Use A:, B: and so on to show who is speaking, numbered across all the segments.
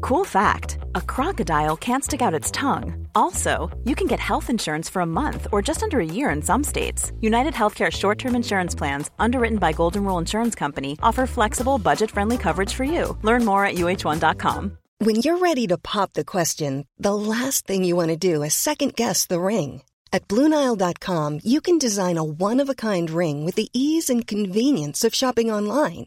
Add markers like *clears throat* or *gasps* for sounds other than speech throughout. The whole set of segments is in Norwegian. A: Cool fact a crocodile can't stick out its tongue. Also, you can get health insurance for a month or just under a year in some states. United Healthcare short term insurance plans, underwritten by Golden Rule Insurance Company, offer flexible, budget friendly coverage for you. Learn more at uh1.com.
B: When you're ready to pop the question, the last thing you want to do is second guess the ring. At Bluenile.com, you can design a one of a kind ring with the ease and convenience of shopping online.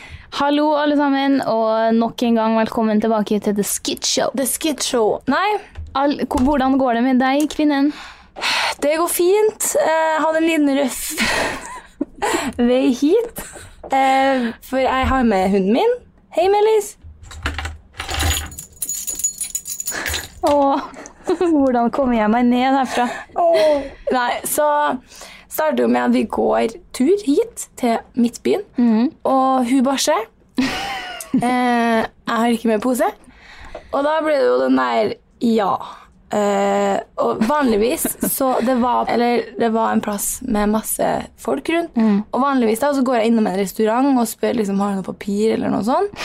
C: Hallo, alle sammen, og nok en gang velkommen tilbake til The Skit Show.
D: The Skid Show. Nei,
C: All, ko- hvordan går det med deg, kvinnen?
D: det går fint. Eh, hadde en liten røff *laughs* vei hit. Eh, for jeg har med hunden min. Hei, Melis.
C: Og *laughs* hvordan kommer jeg meg ned herfra?
D: Nei, så starter jo med at vi går tur hit til Midtbyen.
C: Mhm.
D: Og hun bæsjer. eh, jeg har ikke med pose. Og da ble det jo den der ja. Eh, og vanligvis så det var Eller det var en plass med masse folk rundt.
C: Mm.
D: Og vanligvis da så går jeg innom en restaurant og spør liksom, har du noe papir eller noe sånt.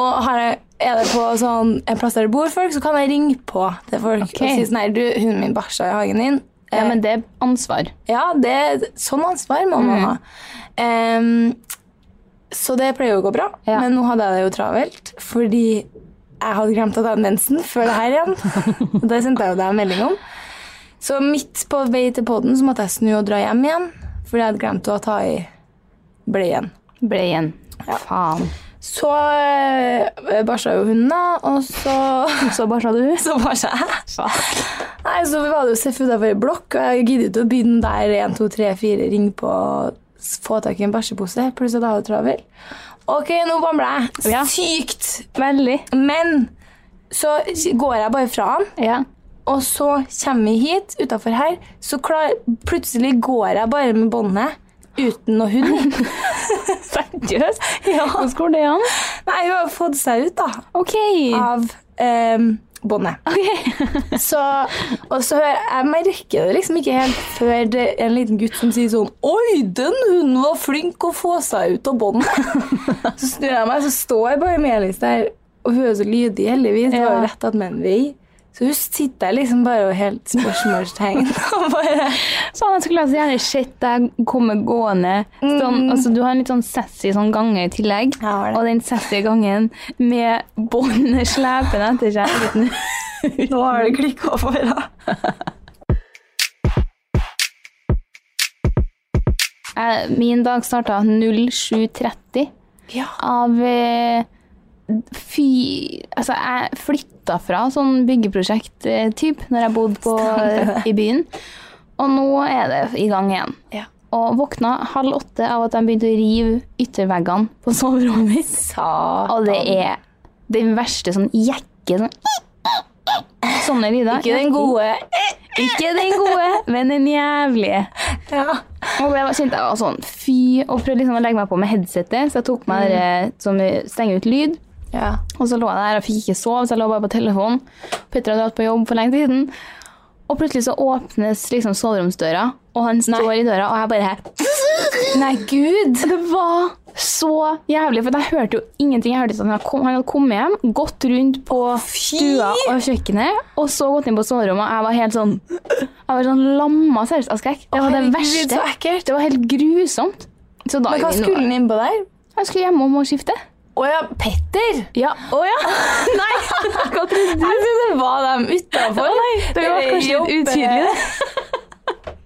D: Og har jeg, er det på sånn, en plass der det bor folk, så kan jeg ringe på til folk
C: Ok.
D: og si sånn her Du, hunden min bæsja i hagen din.
C: Ja,
D: Eh,
C: men det er ansvar.
D: ja, det, sånn ansvar må man ha. Em, så det pleier jo å gå bra,
C: Ja.
D: men nå hadde jeg det jo travelt, fordi jeg hadde glemt at jeg hadde mensen før det her igjen. Og det sendte jeg jo deg en melding om. Så midt på vei til poden så måtte jeg snu og dra hjem igjen, fordi jeg hadde glemt å ta i bleien.
C: Ble igjen. Faen.
D: Så øh, bæsja jo hunden, da, og så
C: Så bæsja du?
D: Så
C: *laughs*
D: bæsja jeg. Nei, så var det jo seff utenfor en blokk, og jeg gidder ikke å begynne der 1, 2, 3, 4, ring på s- få tak i en bæsjepose. Pluss at jeg har travel. Ok, nå bamler jeg.
C: Ja.
D: Sykt!
C: Veldig.
D: Men så går jeg bare fra han,
C: Ja.
D: og så kommer vi hit utafor her, så klar, plutselig går jeg bare med båndet. Uten noe hund.
C: *laughs* Seriøst? Hvordan går det an?
D: Nei, hun har fått seg ut, da.
C: Ok.
D: Av em, båndet. *laughs* Så, og så hører jeg merker det liksom ikke helt før det er en liten gutt som sier sånn Oi, den hunden var flink å få seg ut av båndet. så snur jeg meg, så står bare Melis der, og hun er så lydig, heldigvis. Det var
C: Ja.
D: jo rett at menn vei. Så hun sitter der liksom bare og helt spørsmålstegn. og bare
C: Faen, jeg skulle altså gjerne sett deg komme gående. Sånn, altså, du har en litt sånn sassy sånn gange i tillegg.
D: Jeg har det.
C: Og den sassy gangen med *laughs* båndet slepende etter seg. uten-
D: Nå har det klikka for henne.
C: Eh, Min dag starta 07.30
D: Ja.
C: av eh, Fy Altså, jeg flytta fra sånn byggeprosjekt-type når jeg bodde på, i byen. Og nå er det i gang igjen.
D: Ja.
C: Og våkna halv åtte av at de begynte å rive ytterveggene på *laughs* soverommet mitt. Og det er den verste sånn jekke sånn *laughs* Sånne lyder.
D: Ikke den gode.
C: Ikke den gode, men den jævlige.
D: Ja.
C: Og jeg var- kjente jeg var sånn fy, og prøvde liksom å legge meg på med headsetet, så jeg tok
D: Mm.
C: meg det som stenger ut lyd.
D: ja.
C: Og så lå jeg der og fikk ikke sove, så jeg lå bare på telefonen. Petter hadde dratt på jobb for lenge siden. Og plutselig så åpnes liksom soveromsdøra, og han står i døra, og jeg bare her
D: Nei, gud.
C: *laughs* det var så jævlig, for jeg hørte jo ingenting. Jeg hørte ikke at Han hadde kom- han hadde kommet hjem, gått rundt på stua og kjøkkenet, og så gått inn på soverommet, og jeg var helt sånn Jeg var sånn lamma seriøst av skrekk. Det var det
D: herregud,
C: verste.
D: så ekkelt.
C: Det var helt grusomt. Så da
D: Men hva skulle den innpå der?
C: Jeg skulle hjem om og skifte.
D: Å ja, Petter!
C: Ja.
D: Å ja! Nei,
C: Hva trodde du?
D: jeg trodde det var dem utafor.
C: Det var kanskje litt utydelig, det.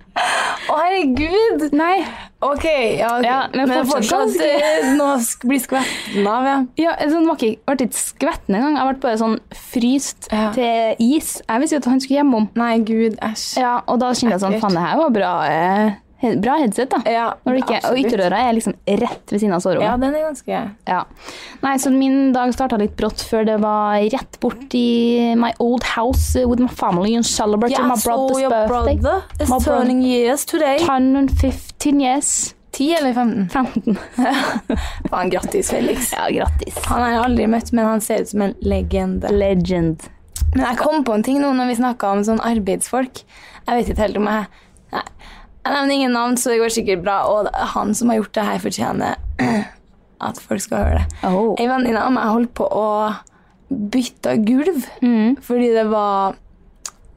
D: *laughs* Å, herregud!
C: Nei.
D: Ok, ja, ok.
C: Ja, men fortsatt ganske-
D: *laughs* eh, Nå sk- blir skvetten av, ja.
C: Ja, sånn, var ikke, ble ikke skvetten engang. Jeg ble bare sånn fryst
D: Ja.
C: til is. Jeg visste jo at han skulle hjemom.
D: Nei, gud, æsj.
C: Ja, og da kjente jeg sånn,
D: Ekkelt.
C: faen, det her var bra, eh, he- bra headset da.
D: Ja,
C: Når det ikke, og
D: absolutt.
C: ytterdøra er liksom rett ved siden av
D: Ja,
C: soverommet.
D: den er ganske
C: Ja. Nei, så min dag startet litt brått før det var rett bort i my old house with my family and celebrate my brother's birthday.
D: is
C: My oh, brother.
D: turning years today.
C: 115 years.
D: 10 eller 15?
C: 15.
D: *laughs* Faen, grattis, Felix.
C: Ja, grattis.
D: Han har jeg aldri møtt, men han ser ut som en legende.
C: Legend.
D: Men jeg kom på en ting nå når vi snakka om sånn arbeidsfolk. Jeg vet ikke helt om jeg Nei. Jeg nevner ingen navn, så det går sikkert bra. Og han som har gjort det her, fortjener *clears throat* at folk skal høre det.
C: Oh.
D: Ei venninne av meg holdt på å bytte gulv fordi det var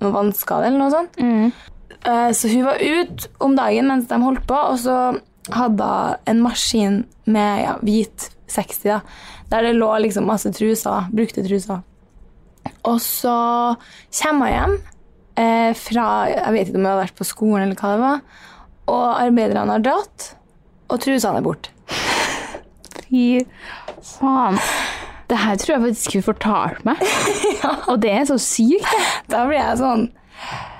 D: noe vannskade eller noe sånt. Eh, Så hun var ute om dagen mens de holdt på, og så hadde hun en maskin med ja, hvit 60, da, der det lå liksom masse truser, brukte truser. Og så kommer hun hjem eh, fra Jeg vet ikke om hun har vært på skolen eller hva det var, og arbeiderne har dratt, og trusene er borte.
C: Fy faen. Det her tror jeg faktisk hun fortalte *laughs* meg. Og det er så sykt.
D: Da blir jeg sånn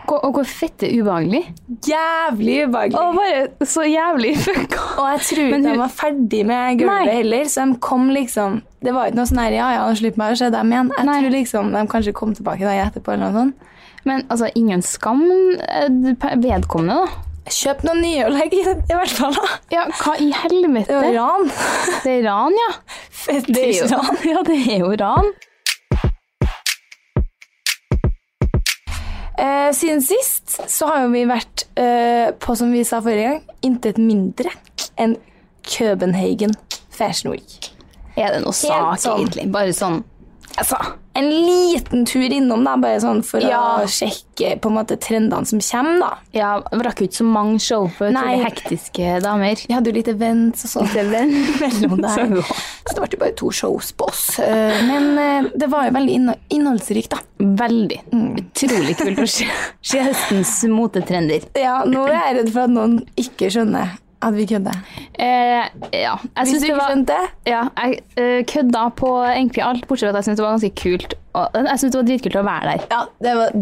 C: Og, og hvor fette ubehagelig.
D: jævlig ubehagelig.
C: Og bare så jævlig fucka.
D: Og jeg tror
C: Men
D: ikke de
C: hun-
D: var ferdig med gulvet
C: Nei.
D: heller, så de kom liksom Det var ikke noe sånn her Ja, ja, nå slipper jeg å se dem igjen. Jeg
C: Nei.
D: tror liksom de kanskje kom tilbake dagen etterpå eller noe sånt.
C: Men altså, ingen skam eh, per- vedkommende, da.
D: Kjøp noen nye og legg i, i hvert fall, da.
C: Ja, hva i
D: Det
C: helvete?
D: var *laughs* ran.
C: Det er ran, ja.
D: Fetisjran.
C: *laughs* ja, det er jo ran.
D: Eh, siden sist så har jo vi vært eh, på, som vi sa forrige gang, intet mindre enn Københagen Fashion Week.
C: Er det noe sak,
D: sånn.
C: egentlig? Bare sånn Altså.
D: En liten tur innom, da, bare sånn for
C: Ja.
D: å sjekke på en måte trendene som kommer, da.
C: Ja, rakk jo ikke så mange show på til
D: Nei.
C: de hektiske damer.
D: Vi hadde jo litt events og *laughs* sånn.
C: *laughs*
D: mellom der. *laughs* Så det ble jo bare to shows på oss. Eh, Men eh, det var jo veldig inno- innholdsrikt, da.
C: Veldig. Utrolig kult å se, se høstens motetrender.
D: Ja, nå er jeg redd for at noen ikke skjønner at vi kødder.
C: Eh, ja. Jeg
D: Hvis
C: syns
D: du
C: det
D: ikke
C: var
D: skjønte
C: ja, Jeg eh, kødda på egentlig alt, bortsett fra at jeg syntes det var ganske kult. Og, eh, jeg syntes det var dritkult å være der.
D: Ja, det var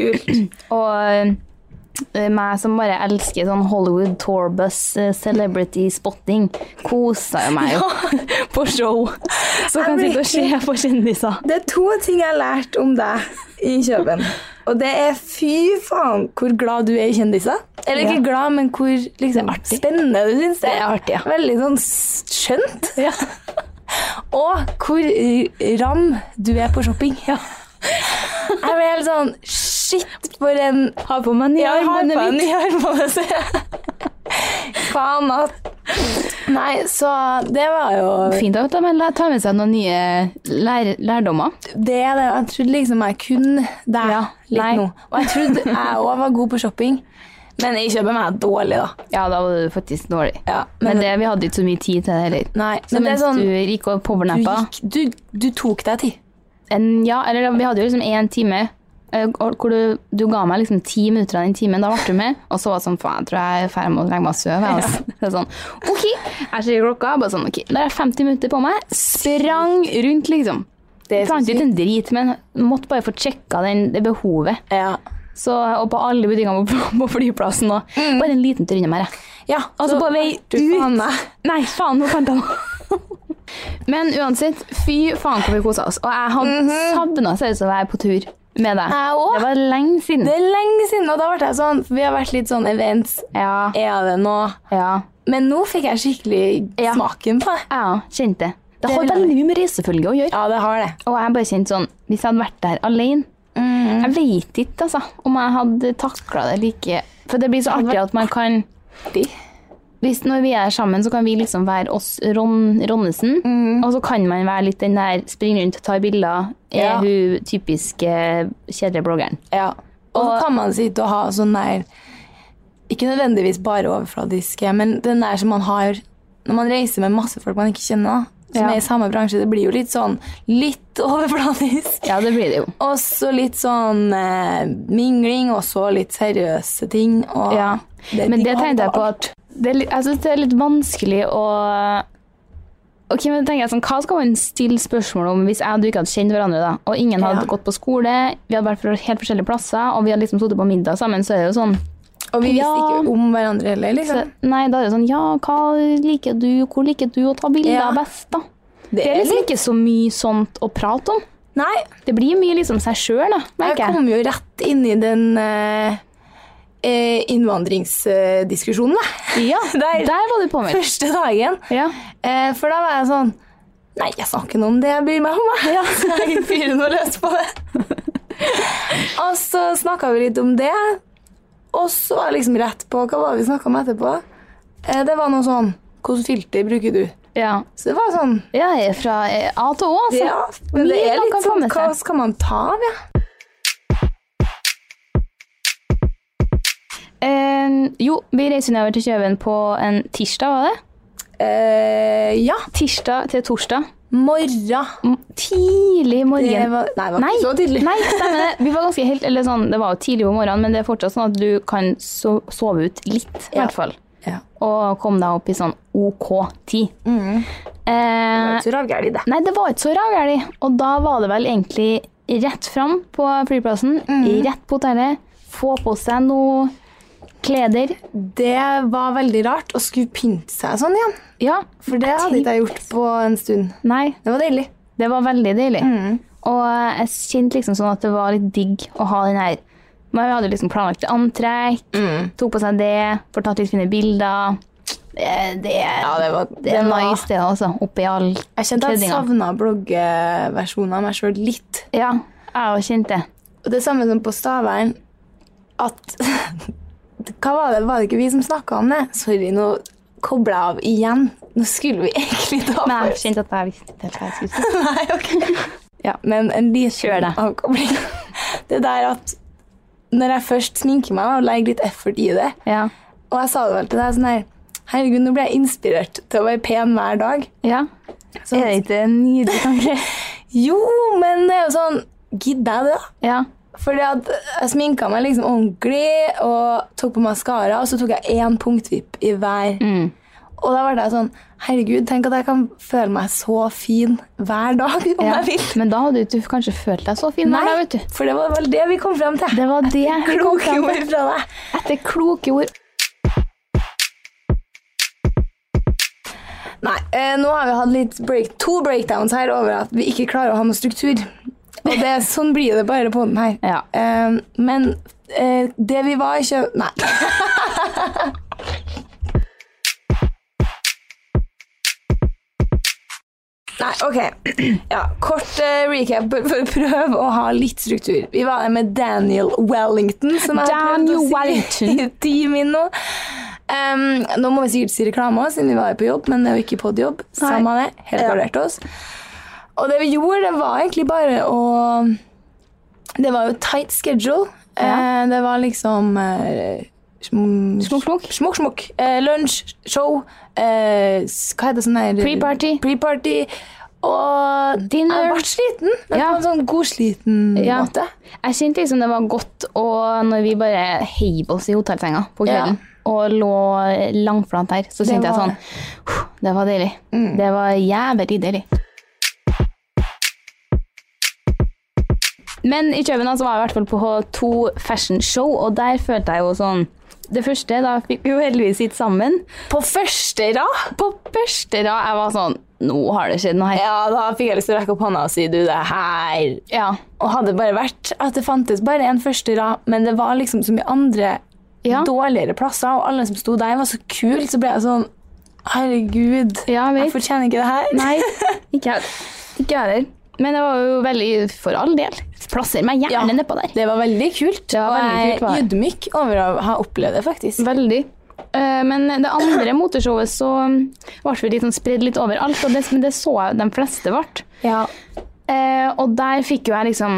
D: dritkult.
C: Og eh, meg som bare elsker sånn Hollywood tourbus, eh, celebrity spotting, kosa jo *laughs* meg jo på show. Så
D: Jeg
C: kan
D: blir
C: jeg sitte og se på kjendiser.
D: Det er to ting jeg har lært om deg i Kjøben. Og det er fy faen hvor glad du er i kjendiser. Eller ikke
C: Ja.
D: glad, men hvor liksom, spennende du syns det
C: Det er artig, ja.
D: Veldig sånn s- skjønt.
C: Ja.
D: Og hvor eh, ram du er på shopping. Jeg ble helt sånn Shit, for en
C: Har på meg nye
D: Jeg har
C: armbåndet
D: på en
C: mitt.
D: ny armbånd, jeg ser. Faen, ass. Nei, så det var jo
C: Fint at de lær- tar med seg noen nye lær lærdommer.
D: det, er det. Jeg trodde liksom jeg kunne deg
C: Ja,
D: litt
C: nei.
D: nå. Og jeg trodde jeg òg var god på shopping, men jeg kjøper meg dårlig, da.
C: Ja, da var du faktisk dårlig.
D: Ja,
C: men
D: men-
C: det, vi hadde ikke så mye tid til det heller.
D: Nei,
C: Så
D: men det
C: mens
D: er sånn
C: du gikk og
D: du,
C: powernappa
D: gikk, du, du tok deg tid.
C: en- Ja, eller da- vi hadde jo liksom én time eh, og- hvor du, du ga meg liksom ti minutter av den timen. Da ble du med, og så var det sånn faen, jeg tror jeg er i ferd med å legge meg og sove. jeg, Altså. Det er sånn, ok, jeg ser klokka, bare sånn, ok, da er jeg 50 minutter på meg. Sprang rundt, liksom.
D: Det er så
C: Fant ikke en drit, men måtte bare få sjekka den- det behovet.
D: Ja.
C: Så, og på alle butikkene på, *laughs* på flyplassen og Bare en liten tur innom her, jeg.
D: ja
C: Altså,
D: så
C: på vei
D: du
C: ut.
D: faen meg.
C: Nei, faen, nå fant jeg noe. *laughs* Men uansett, fy faen hvor vi kosa oss. Og jeg hadde savna seriøst å være på tur med deg.
D: Jeg også.
C: Det var lenge siden.
D: Det er lenge siden, og da ble jeg sånn for Vi har vært litt sånn events.
C: Ja, ja.
D: Er det nå?
C: ja.
D: Men nå fikk jeg skikkelig
C: Ja.
D: smaken på det.
C: Jeg kjente det. Det har
D: vil jeg
C: veldig mye med reisefølge å gjøre.
D: Ja, det har det.
C: Og jeg bare kjente sånn Hvis jeg hadde vært der alene Jeg vet ikke, altså, om jeg hadde takla det like For det blir så artig at man kan hvis når vi er sammen, så kan vi liksom være oss Ron, Ronnesen. Og så kan man være litt den der springe rundt og ta bilder. Er
D: Ja.
C: hun typiske kjedelige bloggeren?
D: Ja. Og så kan man sitte og ha sånn der Ikke nødvendigvis bare overfladiske, men den der som man har når man reiser med masse folk man ikke kjenner. da. som
C: Ja.
D: er i samme bransje, det blir jo litt sånn litt *laughs* overfladisk.
C: Ja, det blir det jo.
D: Og så litt sånn eh, mingling, og så litt seriøse ting. Og
C: Ja.
D: er
C: Men
D: ting
C: det
D: å ha
C: tenkte jeg på
D: alt.
C: at det er litt, Jeg synes det er litt vanskelig å Ok, men tenker jeg sånn, Hva skal man stille spørsmål om hvis jeg og du ikke hadde kjent hverandre, da, og ingen hadde
D: Ja.
C: gått på skole, vi hadde vært fra helt forskjellige plasser, og vi hadde liksom sittet på middag sammen, så er det jo sånn
D: Og vi visste
C: Ja.
D: ikke om hverandre heller,
C: så,
D: liksom.
C: Nei, da er det jo sånn Ja, hva liker du, hvor liker du å ta bilder
D: Ja.
C: best, da? Det er liksom ikke så mye sånt å prate om.
D: Nei,
C: Det blir mye liksom seg sjøl, da,
D: jeg
C: merker jeg.
D: kom jo rett inn i den eh, eh, innvandringsdiskusjonen, da. *laughs*
C: Ja,
D: Der.
C: der var du
D: *laughs*
C: påmeldt.
D: Første dagen.
C: Ja.
D: Eh, for da var jeg sånn Nei, jeg snakker ikke noe om det jeg bryr meg om. *laughs* jeg." Så jeg fyrer noe løs på det. *laughs* og så snakka vi litt om det. Og så var jeg liksom rett på Hva var det vi snakka om etterpå? Eh, det var noe sånn Hvilket filter bruker du?
C: ja.
D: Så det var sånn
C: Ja, jeg er fra eh, A til Å, altså.
D: Ja, men
C: Mye
D: det er
C: man kan
D: litt
C: få
D: sånn
C: med seg.
D: Hva skal man ta av, ja?
C: Eh, jo, vi reiser nedover til Kjøben på en tirsdag, var det?
D: Eh, ja.
C: Tirsdag til torsdag.
D: Morra.
C: M- Tidlig morgen.
D: Det var- nei, det var ikke så tidlig.
C: Nei, stemmer det. Vi var ganske helt, eller sånn, det var jo tidlig på morgenen, men det er fortsatt sånn at du kan so sove ut litt, i hvert fall.
D: Ja.
C: Og komme deg opp i sånn OK tid.
D: Mm.
C: Eh,
D: Så ravgæli, det.
C: Nei, det var ikke så ravgæli. Og da var det vel egentlig rett fram på flyplassen,
D: Mm.
C: rett på hotellet, få på seg noe kleder.
D: Det var veldig rart å skulle pynte seg sånn igjen.
C: Ja,
D: For det hadde ikke jeg gjort på en stund.
C: nei,
D: Det var deilig. Mm.
C: det var veldig deilig. Og jeg kjente liksom sånn at det var litt digg å ha den her. Men vi hadde liksom planlagt antrekk,
D: Mm.
C: tok på seg det, får tatt litt fine bilder. Det, det,
D: det var,
C: det er nice det også, oppi all
D: Jeg kjente jeg
C: køddinga.
D: savna bloggeversjonen av meg sjøl litt.
C: Ja, jeg også kjente det.
D: Og det samme som på Stavern, at *laughs* Hva var det? Var det ikke vi som snakka om det? Sorry, nå kobla jeg av igjen. Nå skulle vi *laughs* egentlig ta
C: Men jeg kjente at jeg visste ikke helt hva jeg skulle si.
D: *laughs* Nei, ok.
C: Ja.
D: Men en
C: Kjør
D: liten
C: det.
D: avkobling. *laughs* Det der at når jeg først sminker meg da, og legger litt effort i det
C: Ja.
D: Og jeg sa det vel til deg sånn her Herregud, nå blir jeg inspirert til å være pen hver dag.
C: ja.
D: Så,
C: Er det ikke en nydelig tanke?
D: *laughs* jo, men det er jo sånn Gidder jeg det, da?
C: *laughs* ja.
D: Fordi at jeg sminka meg liksom ordentlig og tok på maskara, og så tok jeg én punktvipp i hver.
C: Mm.
D: Og da ble jeg sånn Herregud, tenk at jeg kan føle meg så fin hver dag om
C: ja.
D: jeg vil.
C: Men da hadde du ikke kanskje følt deg så fin. hver dag, vet du.
D: for det var vel det vi kom frem til.
C: Det var det vi kom
D: Kloke
C: frem til.
D: ord fra deg.
C: Etter kloke ord.
D: Nei, eh, nå har vi hatt litt break, to breakdowns her over at vi ikke klarer å ha noe struktur. Og det, sånn blir det bare på den her.
C: *laughs* Ja.
D: Eh, men eh, det vi var i Kø... Nei. Nei, ok. *clears throat* Ja, kort eh, recap for å prøve å ha litt struktur. Vi var der med Daniel Wellington, som jeg har prøvd
C: Daniel
D: å si *laughs* i ti min nå. Em, nå må vi sikkert si reklame, også, siden vi var jo på jobb, men det er jo ikke podjobb. Samme det, helt gardert oss. Og det vi gjorde, det var egentlig bare å Det var jo tight schedule. Eh, det var liksom eh, sm-
C: Smokk, smokk.
D: Smokk, smokk. Eh, lunsj, show eh, s- Hva heter det sånn her
C: Pre-party.
D: Pre-party. Og
C: Dinner.
D: Jeg ble sliten, men
C: Ja.
D: på en sånn godsliten
C: Ja.
D: måte.
C: Jeg kjente liksom det var godt og når vi bare heiv oss i hotellsenga på kvelden og lå langflat der, så kjente jeg
D: var Mm.
C: sånn
D: det.
C: «Puh, Det var deilig. Det var jævlig deilig. Men i København så var jeg i hvert fall på to fashion show, og der følte jeg jo sånn Det første, da fikk vi jo heldigvis sitte sammen.
D: På første rad
C: På første da jeg var sånn Nå har det skjedd noe her.
D: Ja, da fikk jeg lyst til å rekke opp hånda og si du, det her
C: Ja.
D: Og hadde bare vært at det fantes bare en første rad, men det var liksom så mye andre
C: Ja.
D: dårligere plasser, og alle som sto der, var så kule, så ble jeg sånn Herregud,
C: Ja, jeg vet.
D: jeg fortjener ikke det her.
C: Nei, ikke jeg ikke jeg heller. Men det var jo veldig For all del. Plasser meg
D: Ja,
C: gjerne nedpå der.
D: *laughs* Det var veldig kult.
C: Det var
D: og
C: veldig
D: jeg
C: kult, var
D: er
C: det.
D: ydmyk over å ha opplevd det, faktisk.
C: Veldig. Eh, Men det andre moteshowet så mm, ble vi litt sånn spredd litt overalt, og det, men det så jeg de fleste ble.
D: Ja.
C: Eh, og der fikk jo jeg liksom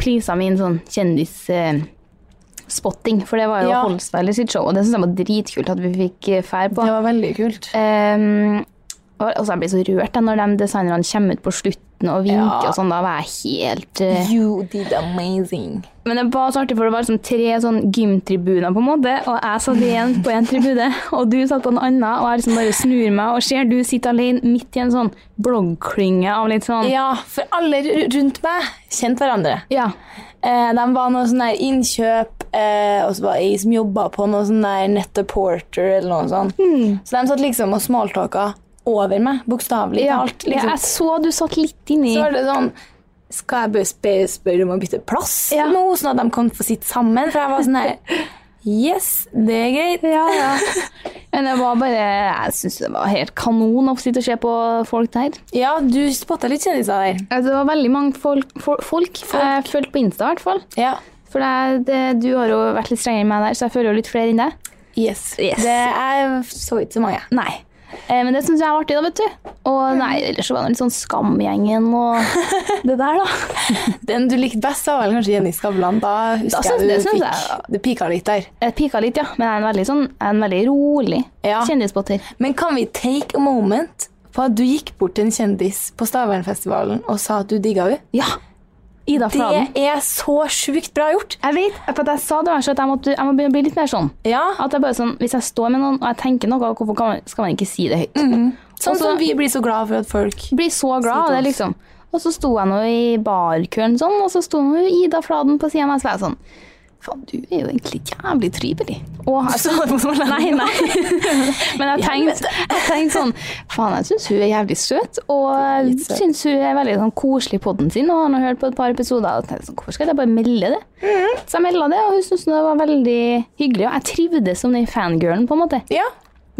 C: prisa min sånn kjendisspotting, for det var jo
D: Ja.
C: Holsweiler sitt show, og det syns jeg var dritkult at vi fikk eh, fær på.
D: Det var veldig kult.
C: Ehm, Og altså, jeg blir så rørt da, når de designerne kommer ut på slutten og vinker og sånn. Da var jeg helt eh,
D: You did amazing.
C: Men det var så artig, for det var sånn tre sånn gymtribuner, på en måte, og jeg satt igjen på en tribune, *laughs* og du satt på en annen, og jeg liksom bare snur meg og ser du sitter alene midt i en sånn bloggklynge av litt sånn
D: Ja, for alle ru- rundt meg kjente hverandre.
C: Ja.
D: Eh, de var noe sånn der innkjøp, eh, og så var ei som jobba på noe sånn der Netta Porter eller noe sånt. Så de satt liksom og smalltalka over meg, bokstavelig
C: Ja,
D: talt. Liksom.
C: jeg så du satt litt inni.
D: Så var det sånn Skal jeg bare sp- spørre om å bytte plass
C: Ja.
D: nå, sånn at de kan få sitte sammen? For jeg var sånn her Yes, det er greit.
C: Ja, ja. *laughs* Men det var bare Jeg syns det var helt kanon å sitte og se på folk der.
D: Ja, du spotta litt kjendiser der.
C: Altså, Det var veldig mange folk, folk, folk. jeg følte på Insta, i hvert fall.
D: Ja.
C: For det, det, du har jo vært litt strengere enn meg der, så jeg føler jo litt flere enn deg.
D: Yes.
C: Yes.
D: Det, jeg så ikke så mange.
C: Nei. Eh, men det syns jeg var artig, da, vet du. Og nei, ellers så var det litt sånn Skamgjengen
D: *laughs*
C: og det der, da.
D: Den du likte best, var vel kanskje Jenny Skavlan. Da
C: Da
D: husker
C: syns- det
D: jeg du
C: syns
D: fikk
C: jeg-
D: Det pika litt der.
C: Jeg pika litt, ja. Men jeg er en veldig, sånn, jeg er en veldig rolig
D: Ja.
C: kjendisspotter.
D: Men kan vi take a moment på at du gikk bort til en kjendis på Stavernfestivalen og sa at du digga henne?
C: Ja. Ida Fladen.
D: Det er så sjukt bra gjort.
C: Jeg vet, for at jeg sa det var så at jeg, måtte, jeg må begynne å bli litt mer sånn.
D: Ja,
C: At jeg bare sånn, Hvis jeg står med noen og jeg tenker noe, hvorfor kan man, skal man ikke si det høyt?
D: Sånn
C: Også-
D: som vi blir så glad for at folk
C: Blir så glad av det, liksom. Og så sto jeg nå i barkøen sånn, og så sto nå Ida Fladen på sida av meg, så var jeg sånn Faen, du er jo egentlig jævlig trivelig. Og altså, nei, *laughs* nei. Men jeg tenkte, jeg tenkte sånn Faen, jeg syns hun er jævlig søt, og syns hun er veldig sånn koselig i podden sin, og har nå hørt på et par episoder, og tenkte sånn Hvorfor skal jeg bare melde det? Så jeg melda det, og hun syntes nå det var veldig hyggelig, og jeg trivdes som den fangirlen, på en måte.
D: Ja.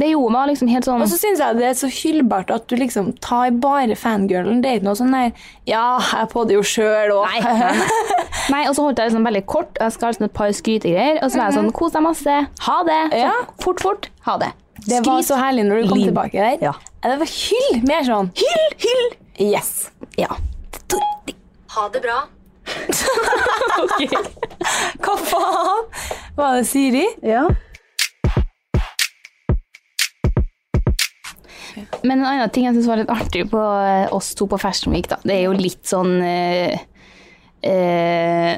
C: Det gjorde meg liksom helt sånn
D: Og så syns jeg det er så hyllbart at du liksom tar bare fangirlen. Det er ikke noe sånn der Ja, jeg podder jo sjøl og
C: Nei, nei, nei. nei, og så holdt jeg liksom veldig kort. og Jeg skal ha sånn et par skrytegreier. Og så var jeg sånn Kos deg masse. Ha det. Så,
D: Mhm. Ja.
C: Fort, fort. Ha det.
D: Det var
C: Skryt.
D: så herlig når du kom
C: Liv.
D: tilbake der.
C: Ja.
D: Det var hyll! Mer sånn Hyll, hyll! Yes.
C: Ja.
D: *laughs* Hva faen? Var det Siri?
C: Men en annen ting jeg syns var litt artig på eh, oss to på Fashion Week, da. Det er jo litt sånn eh, eh,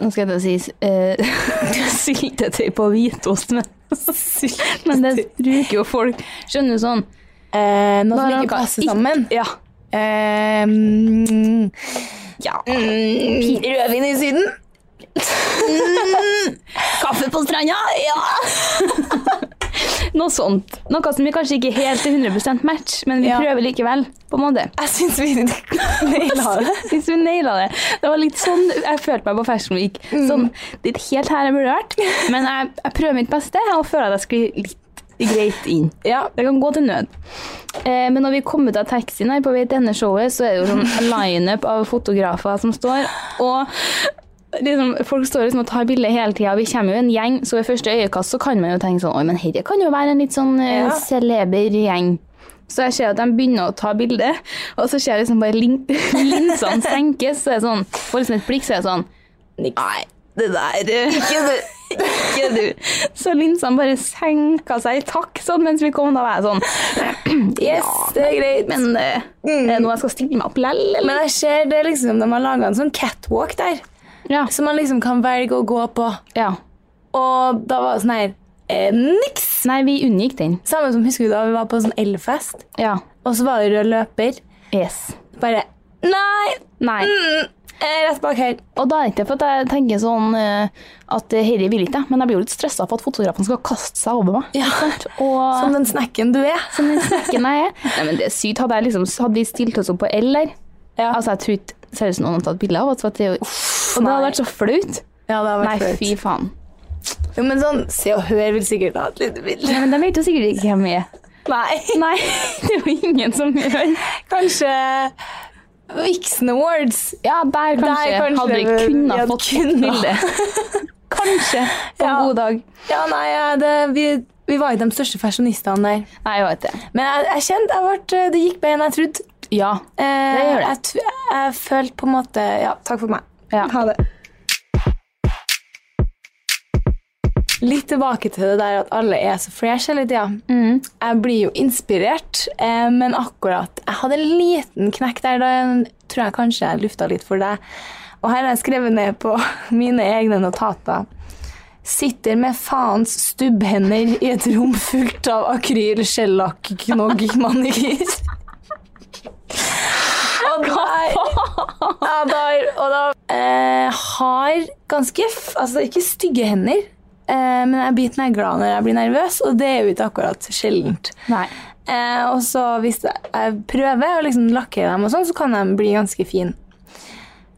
C: Nå skal jeg til å si eh, *laughs* Syltetøy på hvitost, men Men det bruker jo folk. Skjønner du sånn?
D: Eh, noe
C: Bare
D: som
C: noe
D: ikke passer
C: ikke-
D: sammen.
C: Ja.
D: Eh, mm,
C: ja.
D: mm, rødvin i Syden. Mm.
C: Kaffe på stranda, ja! Noe sånt. Noe som vi kanskje ikke helt er 100 match, men vi
D: Ja.
C: prøver likevel. på en måte.
D: Jeg syns vi *laughs* naila det.
C: Hvis vi naila det. Det var litt sånn jeg følte meg på Fashion Week. Sånn, det er ikke helt her jeg burde vært, men jeg, jeg prøver mitt beste og føler at jeg sklir litt greit inn.
D: Ja.
C: Det kan gå til nød. Eh, men når vi kom ut av taxien her på vei til denne showet, så er det jo sånn lineup av fotografer som står, og liksom, folk står liksom og tar bilder hele tida. Vi kommer jo en gjeng, så ved første øyekast så kan man jo tenke sånn Oi, men herre kan jo være en litt sånn eh,
D: Ja.
C: celeber gjeng. Så jeg ser at de begynner å ta bilde, og så ser jeg liksom bare lin *laughs* linsene senkes, så er det sånn Får liksom et blikk, så er det sånn Nei, det der eh, ikke du. Så linsene bare senka seg i takt sånn mens vi kom. Da var jeg sånn
D: Yes, det er greit.
C: Men eh, er det noe jeg skal stille meg opp lell, eller?
D: Men jeg ser det liksom, de har laga en sånn catwalk der,
C: Ja.
D: som man liksom kan velge å gå på.
C: ja.
D: Og da var det sånn her eh, Niks!
C: Nei, vi unngikk den.
D: Samme som husker du da vi var på sånn elfest,
C: Ja.
D: og så var det rød løper.
C: Yes.
D: Bare Nei!
C: Nei.
D: Mm, eh, rett bak her.
C: Og da er det ikke for at jeg tenker sånn eh, at eh, herre vil ikke, jeg, men jeg blir jo litt stressa for at fotografen skal kaste seg over meg.
D: Ja.
C: *laughs* Og
D: *laughs* Som den snekken du er.
C: som den snekken jeg er. Nei, men det er sykt. Hadde, jeg liksom, hadde vi stilt oss opp på L der,
D: Ja.
C: altså jeg tror ikke seriøst noen hadde tatt bilde av oss, for at det er jo- og det hadde
D: nei.
C: vært så flaut.
D: Ja, det har
C: Nei,
D: vært flaut.
C: fy faen.
D: Jo, Men sånn Se og Hør vil sikkert ha et lite bilde.
C: Nei, men de vet jo sikkert ikke hvem jeg er.
D: Nei.
C: *laughs* Nei, *laughs* det er jo ingen som gjør.
D: Kanskje eh, Vixen Awards.
C: Ja, der kanskje,
D: Der kanskje
C: hadde vi
D: vi- vi
C: kunnet
D: hadde
C: fått et
D: kunnet.
C: bilde. *laughs* kanskje, på en
D: Ja.
C: god dag.
D: Ja, nei, ja, det, vi, vi var jo de største fashionistene der.
C: Nei, jeg vet det.
D: Men jeg, jeg kjente jeg ble, eh, Det gikk bedre enn jeg trodde.
C: Ja.
D: Eh,
C: Det gjør det.
D: Jeg, tr- jeg følte på en måte Ja, takk for meg.
C: Ja.
D: Ha det. Litt tilbake til det der at alle er så fresh hele tida. Jeg blir jo inspirert, eh, men akkurat Jeg hadde en liten knekk der. Da tror jeg kanskje jeg lufta litt for deg. Og her har jeg skrevet ned på *laughs* mine egne notater. Sitter med faens stubbhender i et rom fullt av akryl, skjellakk, knogg, manikyr. Og da, ja, da, og da eh, har ganske f Altså ikke stygge hender, eh, men jeg blir negla når jeg blir nervøs, og det er jo ikke akkurat sjeldent.
C: Nei.
D: Eh, og så hvis jeg prøver å liksom lakkere dem, og sånn, så kan de bli ganske fine.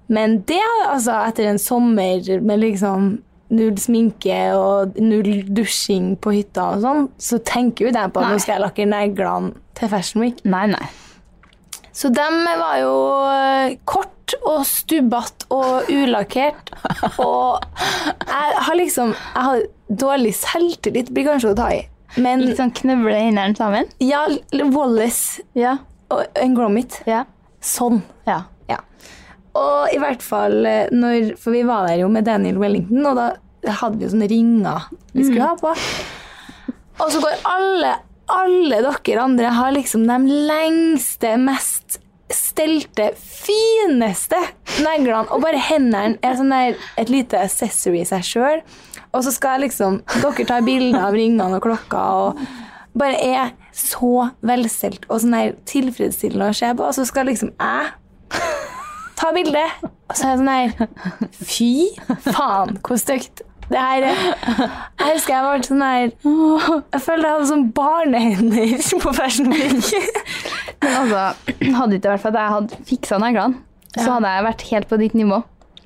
D: Men det, altså, etter en sommer med liksom null sminke og null dusjing på hytta og sånn, så tenker jo ikke jeg på at
C: Nei.
D: nå skal jeg lakkere neglene til Fashion Week.
C: Nei, nei.
D: Så dem var jo eh, kort og stubbete og ulakkert. Og jeg har liksom Jeg har dårlig selvtillit, blir kanskje å ta i. Men
C: Litt sånn knøvle hendene sammen.
D: ja, Wallace
C: Ja.
D: og en Gromit.
C: Ja.
D: Sånn.
C: Ja.
D: Ja. Og i hvert fall eh, når For vi var der jo med Daniel Wellington, og da hadde vi jo sånne ringer vi skulle ha på. Og så går alle, alle dere andre har liksom de lengste, mest stelte, fineste neglene, og bare hendene er sånn der et lite accessory i seg sjøl. Og så skal jeg liksom Dere tar bilder av ringene og klokka og bare er så velstelt og sånn der tilfredsstillende å se på, og så skal liksom jeg ta bilde. Og så er jeg sånn her Fy faen, hvor stygt. Det her er- Jeg husker jeg var sånn her Jeg følte jeg hadde sånn barnehender på Fashion Week.
C: Men altså, *clears throat* hadde det ikke vært for at jeg hadde fiksa neglene, så hadde jeg vært helt på ditt nivå.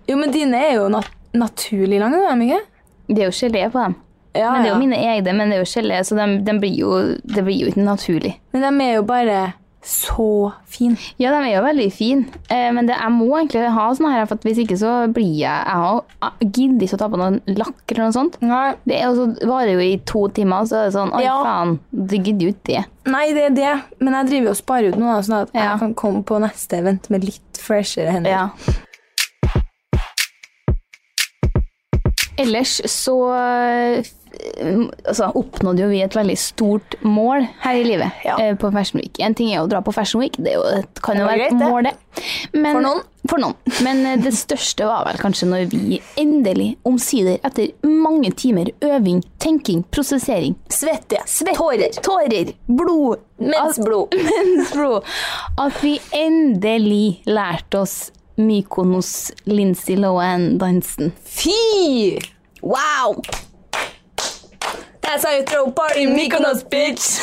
D: Jo, men dine er jo nat naturlig lange, er de ikke?
C: Det er jo gelé på dem.
D: Ja,
C: Men det er
D: ja.
C: jo mine egne, men det er jo gelé, så dem- dem blir jo, det blir jo ikke naturlig.
D: Men de er jo bare så fine.
C: Ja, de er jo veldig fine, eh, men det, jeg må egentlig ha sånne her, for at hvis ikke så blir jeg Jeg har- jeg gidder ikke å ta på noen lakk eller noe sånt.
D: Nei.
C: Det er jo så, varer jo i to timer, så er det sånn Oi,
D: Ja.
C: faen, du gidder jo ikke det.
D: Nei, det er det. Men jeg driver jo og sparer ut noe, sånn at
C: Ja.
D: jeg kan komme på neste event med litt freshere hender.
C: Ja. Ellers så eh, altså, oppnådde jo vi et veldig stort mål her i livet
D: Ja.
C: eh, på Fashion Week. En ting er jo å dra på Fashion Week, det, er jo, det kan jo
D: var
C: være et
D: greit, det.
C: mål, det. Men-
D: For noen.
C: For noen. Men eh, det største var vel kanskje når vi endelig, omsider, etter mange timer øving, tenking, prosessering,
D: Svette, tårer,
C: tårer, blod, *laughs*
D: mensblod.
C: mensblod, at vi endelig lærte oss Mykonos Lindsay Lohan-dansen.
D: Fy! Wow! That's how you throw party in Mykonos, bitch!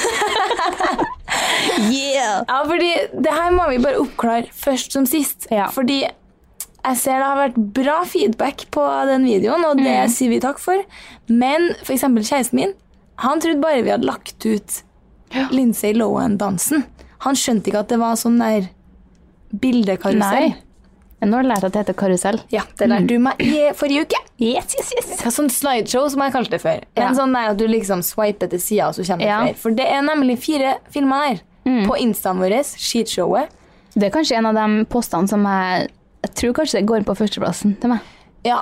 D: *laughs*
C: Yeah!
D: Ja, fordi det her må vi bare oppklare først som sist.
C: Ja.
D: Fordi jeg ser det har vært bra feedback på den videoen, og det sier vi takk for. Men for eksempel kjæresten min, han trodde bare vi hadde lagt ut Lindsay Lohan-dansen. Han skjønte ikke at det var sånn der bildekarusell.
C: Nei. Men nå har jeg lært at det heter karusell.
D: Ja, det lærte du meg i forrige uke.
C: Yes, yes, yes.
D: Ja, sånn slideshow som jeg kalte det før.
C: Ja.
D: Men sånn der at du liksom swiper til sida, og så kommer det
C: Ja. Mm.
D: flere. For det er nemlig fire filmer her. På instaen vår, skitshowet.
C: Det er kanskje en av de postene som jeg jeg tror kanskje det går på førsteplassen til meg.
D: Ja,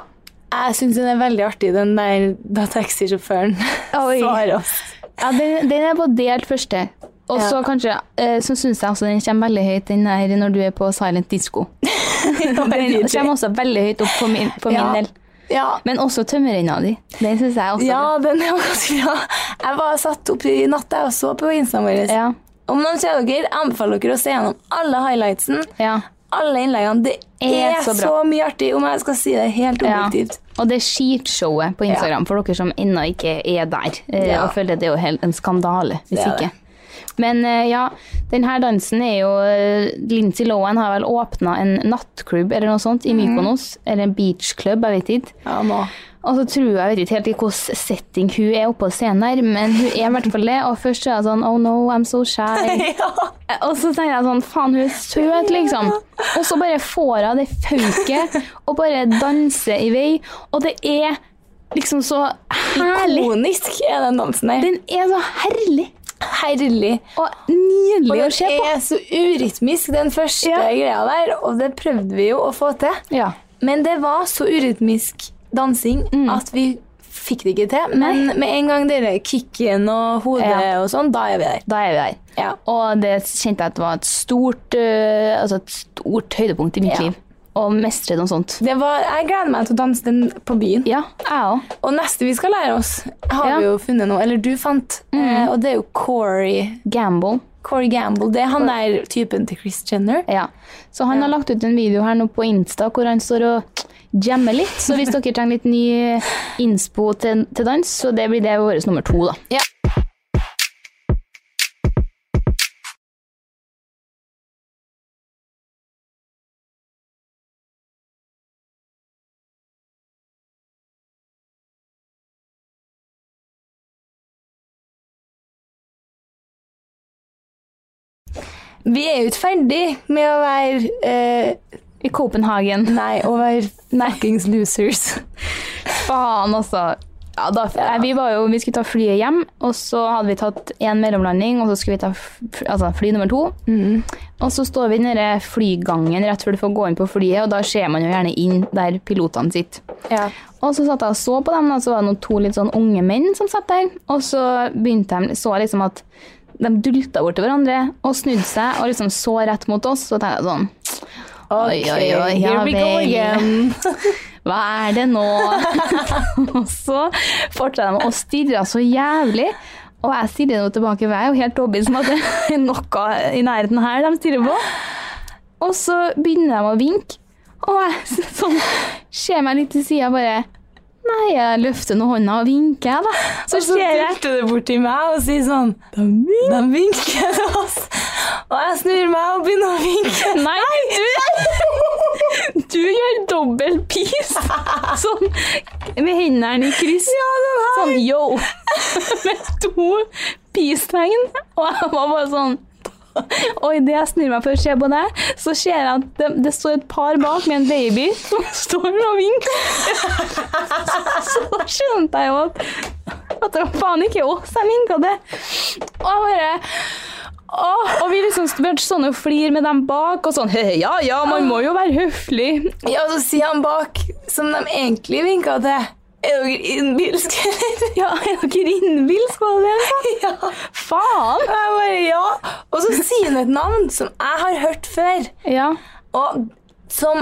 D: jeg syns den er veldig artig, den der da taxisjåføren
C: Oi.
D: *laughs* svarer
C: *laughs*
D: oss.
C: Ja, Den, den er på delt første. Og så
D: Ja.
C: kanskje, eh, så syns jeg også den kommer veldig høyt, den her når du er på silent *laughs* disco. Den kommer også veldig høyt opp for min, for min
D: Ja.
C: del.
D: Ja.
C: Men også tømmerrenna di. Den syns jeg også.
D: ja, den er jo ganske bra. Jeg var satt opp i natt jeg, og så på instaen vår.
C: Ja.
D: Om noen ser dere, jeg anbefaler dere å se gjennom alle highlightsen.
C: ja.
D: Alle innleggene. Det
C: Er
D: er,
C: så
D: så,
C: bra.
D: mye artig, om jeg skal si det helt
C: Ja.
D: objektivt.
C: Og det er skitshowet på Instagram for dere som ennå ikke er der. eh,
D: Ja.
C: Og føler det er jo helt en skandale hvis
D: Det er
C: ikke. Men eh, ja, denne dansen er jo eh, Lindsay Lohan har vel åpna en nattklubb eller noe sånt i
D: Mhm.
C: Mykonos. Eller en beachklubb, jeg vet ikke.
D: Ja, nå.
C: Og så tror jeg, jeg vet ikke helt i hvilken setting hun er oppe på scenen her, men hun er i hvert fall det. Og først er hun sånn Oh no, I'm so shy.
D: *laughs* ja.
C: Og så tenker jeg sånn, faen hun er søt liksom Og så bare får hun det fauket Og bare danser i vei Og det er liksom så herlig
D: Ikonisk er den dansen her.
C: Den er så herlig
D: herlig.
C: Og nydelig å
D: Og
C: se
D: den
C: på
D: er så urytmisk, den første
C: Ja.
D: greia der, og det prøvde vi jo å få til.
C: ja. Mm.
D: Men det var så urytmisk dansing at vi fikk det ikke til. Men med en gang dere kicken og hodet
C: Ja.
D: og sånn, da er vi der.
C: Da er vi der.
D: Ja.
C: Og det kjente jeg at det var et stort, eh, altså et stort høydepunkt i mitt
D: Ja.
C: liv. Å mestre noe sånt.
D: Det var, jeg gleder meg til å danse den på byen.
C: Ja, jeg òg.
D: Og neste vi skal lære oss, har
C: Ja. Mm.
D: vi jo funnet noe. Eller du fant. Eh, og det er jo Corey.
C: Gamble.
D: Corey Gamble. Det er han der typen til Chris Jenner.
C: Ja. Så han har lagt ut en video her nå på Insta hvor han står og jammer litt. Så *laughs* hvis dere trenger litt ny innspo til, til dans, så det blir det vår nummer to, da.
D: Ja. Vi er jo ikke ferdig med å være eh,
C: I Copenhagen.
D: Nei, å være fuckings losers.
C: Faen, altså. Ja, da, Nei, vi, var jo, vi skulle ta flyet hjem, og så hadde vi tatt én mellomlanding, og så skulle vi ta f- altså, fly nummer to. Og så står vi i den der flygangen rett før du får gå inn på flyet, og da ser man jo gjerne inn der pilotene sitter.
D: Ja.
C: Og så satt jeg og så på dem, og så var det noen to litt sånn unge menn som satt der. Og så begynte de, så jeg liksom at de dulta bort til hverandre og snudde seg og liksom så rett mot oss. Så tenkte jeg sånn Oi, oi, oi,
D: Ok,
C: ja
D: here we go
C: vel.
D: again.
C: Hva er
D: *laughs*
C: det nå? og så fortsatte de å stirre så jævlig. Og jeg stirrer nå tilbake, for jeg er jo helt overbevist om at det er noe i nærheten her de stirrer på. Og så begynner de å vinke, og jeg *laughs* sånn, ser meg litt til sida bare Nei, jeg løfter nå hånda og vinker, jeg, da. Så
D: Og *laughs* så
C: ser jeg
D: tilte det bort til meg og sier sånn De vinker til oss. Og jeg snur meg og begynner å vinke.
C: *laughs* Nei, du, du gjør dobbel pis. Sånn med hendene i kryss. Sånn yo. *laughs* Med to pistegn. Og jeg var bare sånn og idet jeg snur meg for å se på deg, så ser jeg at det, det står et par bak med en baby som *laughs* står og vinker. *laughs* Så da skjønte jeg jo at, at det var faen ikke oss jeg vinka til. Og jeg bare Åh, og vi liksom begynte sånn å flire med dem bak, og sånn *laughs* Ja, ja, man må jo være høflig.
D: Ja, så sier han bak, som de egentlig vinka til. Er dere innbilske, eller?
C: *laughs* Ja, er dere innbilske, var det det? jeg sa?
D: *laughs* Ja.
C: Faen!
D: Og jeg bare ja. Og så sier han et navn som jeg har hørt før,
C: Ja.
D: og som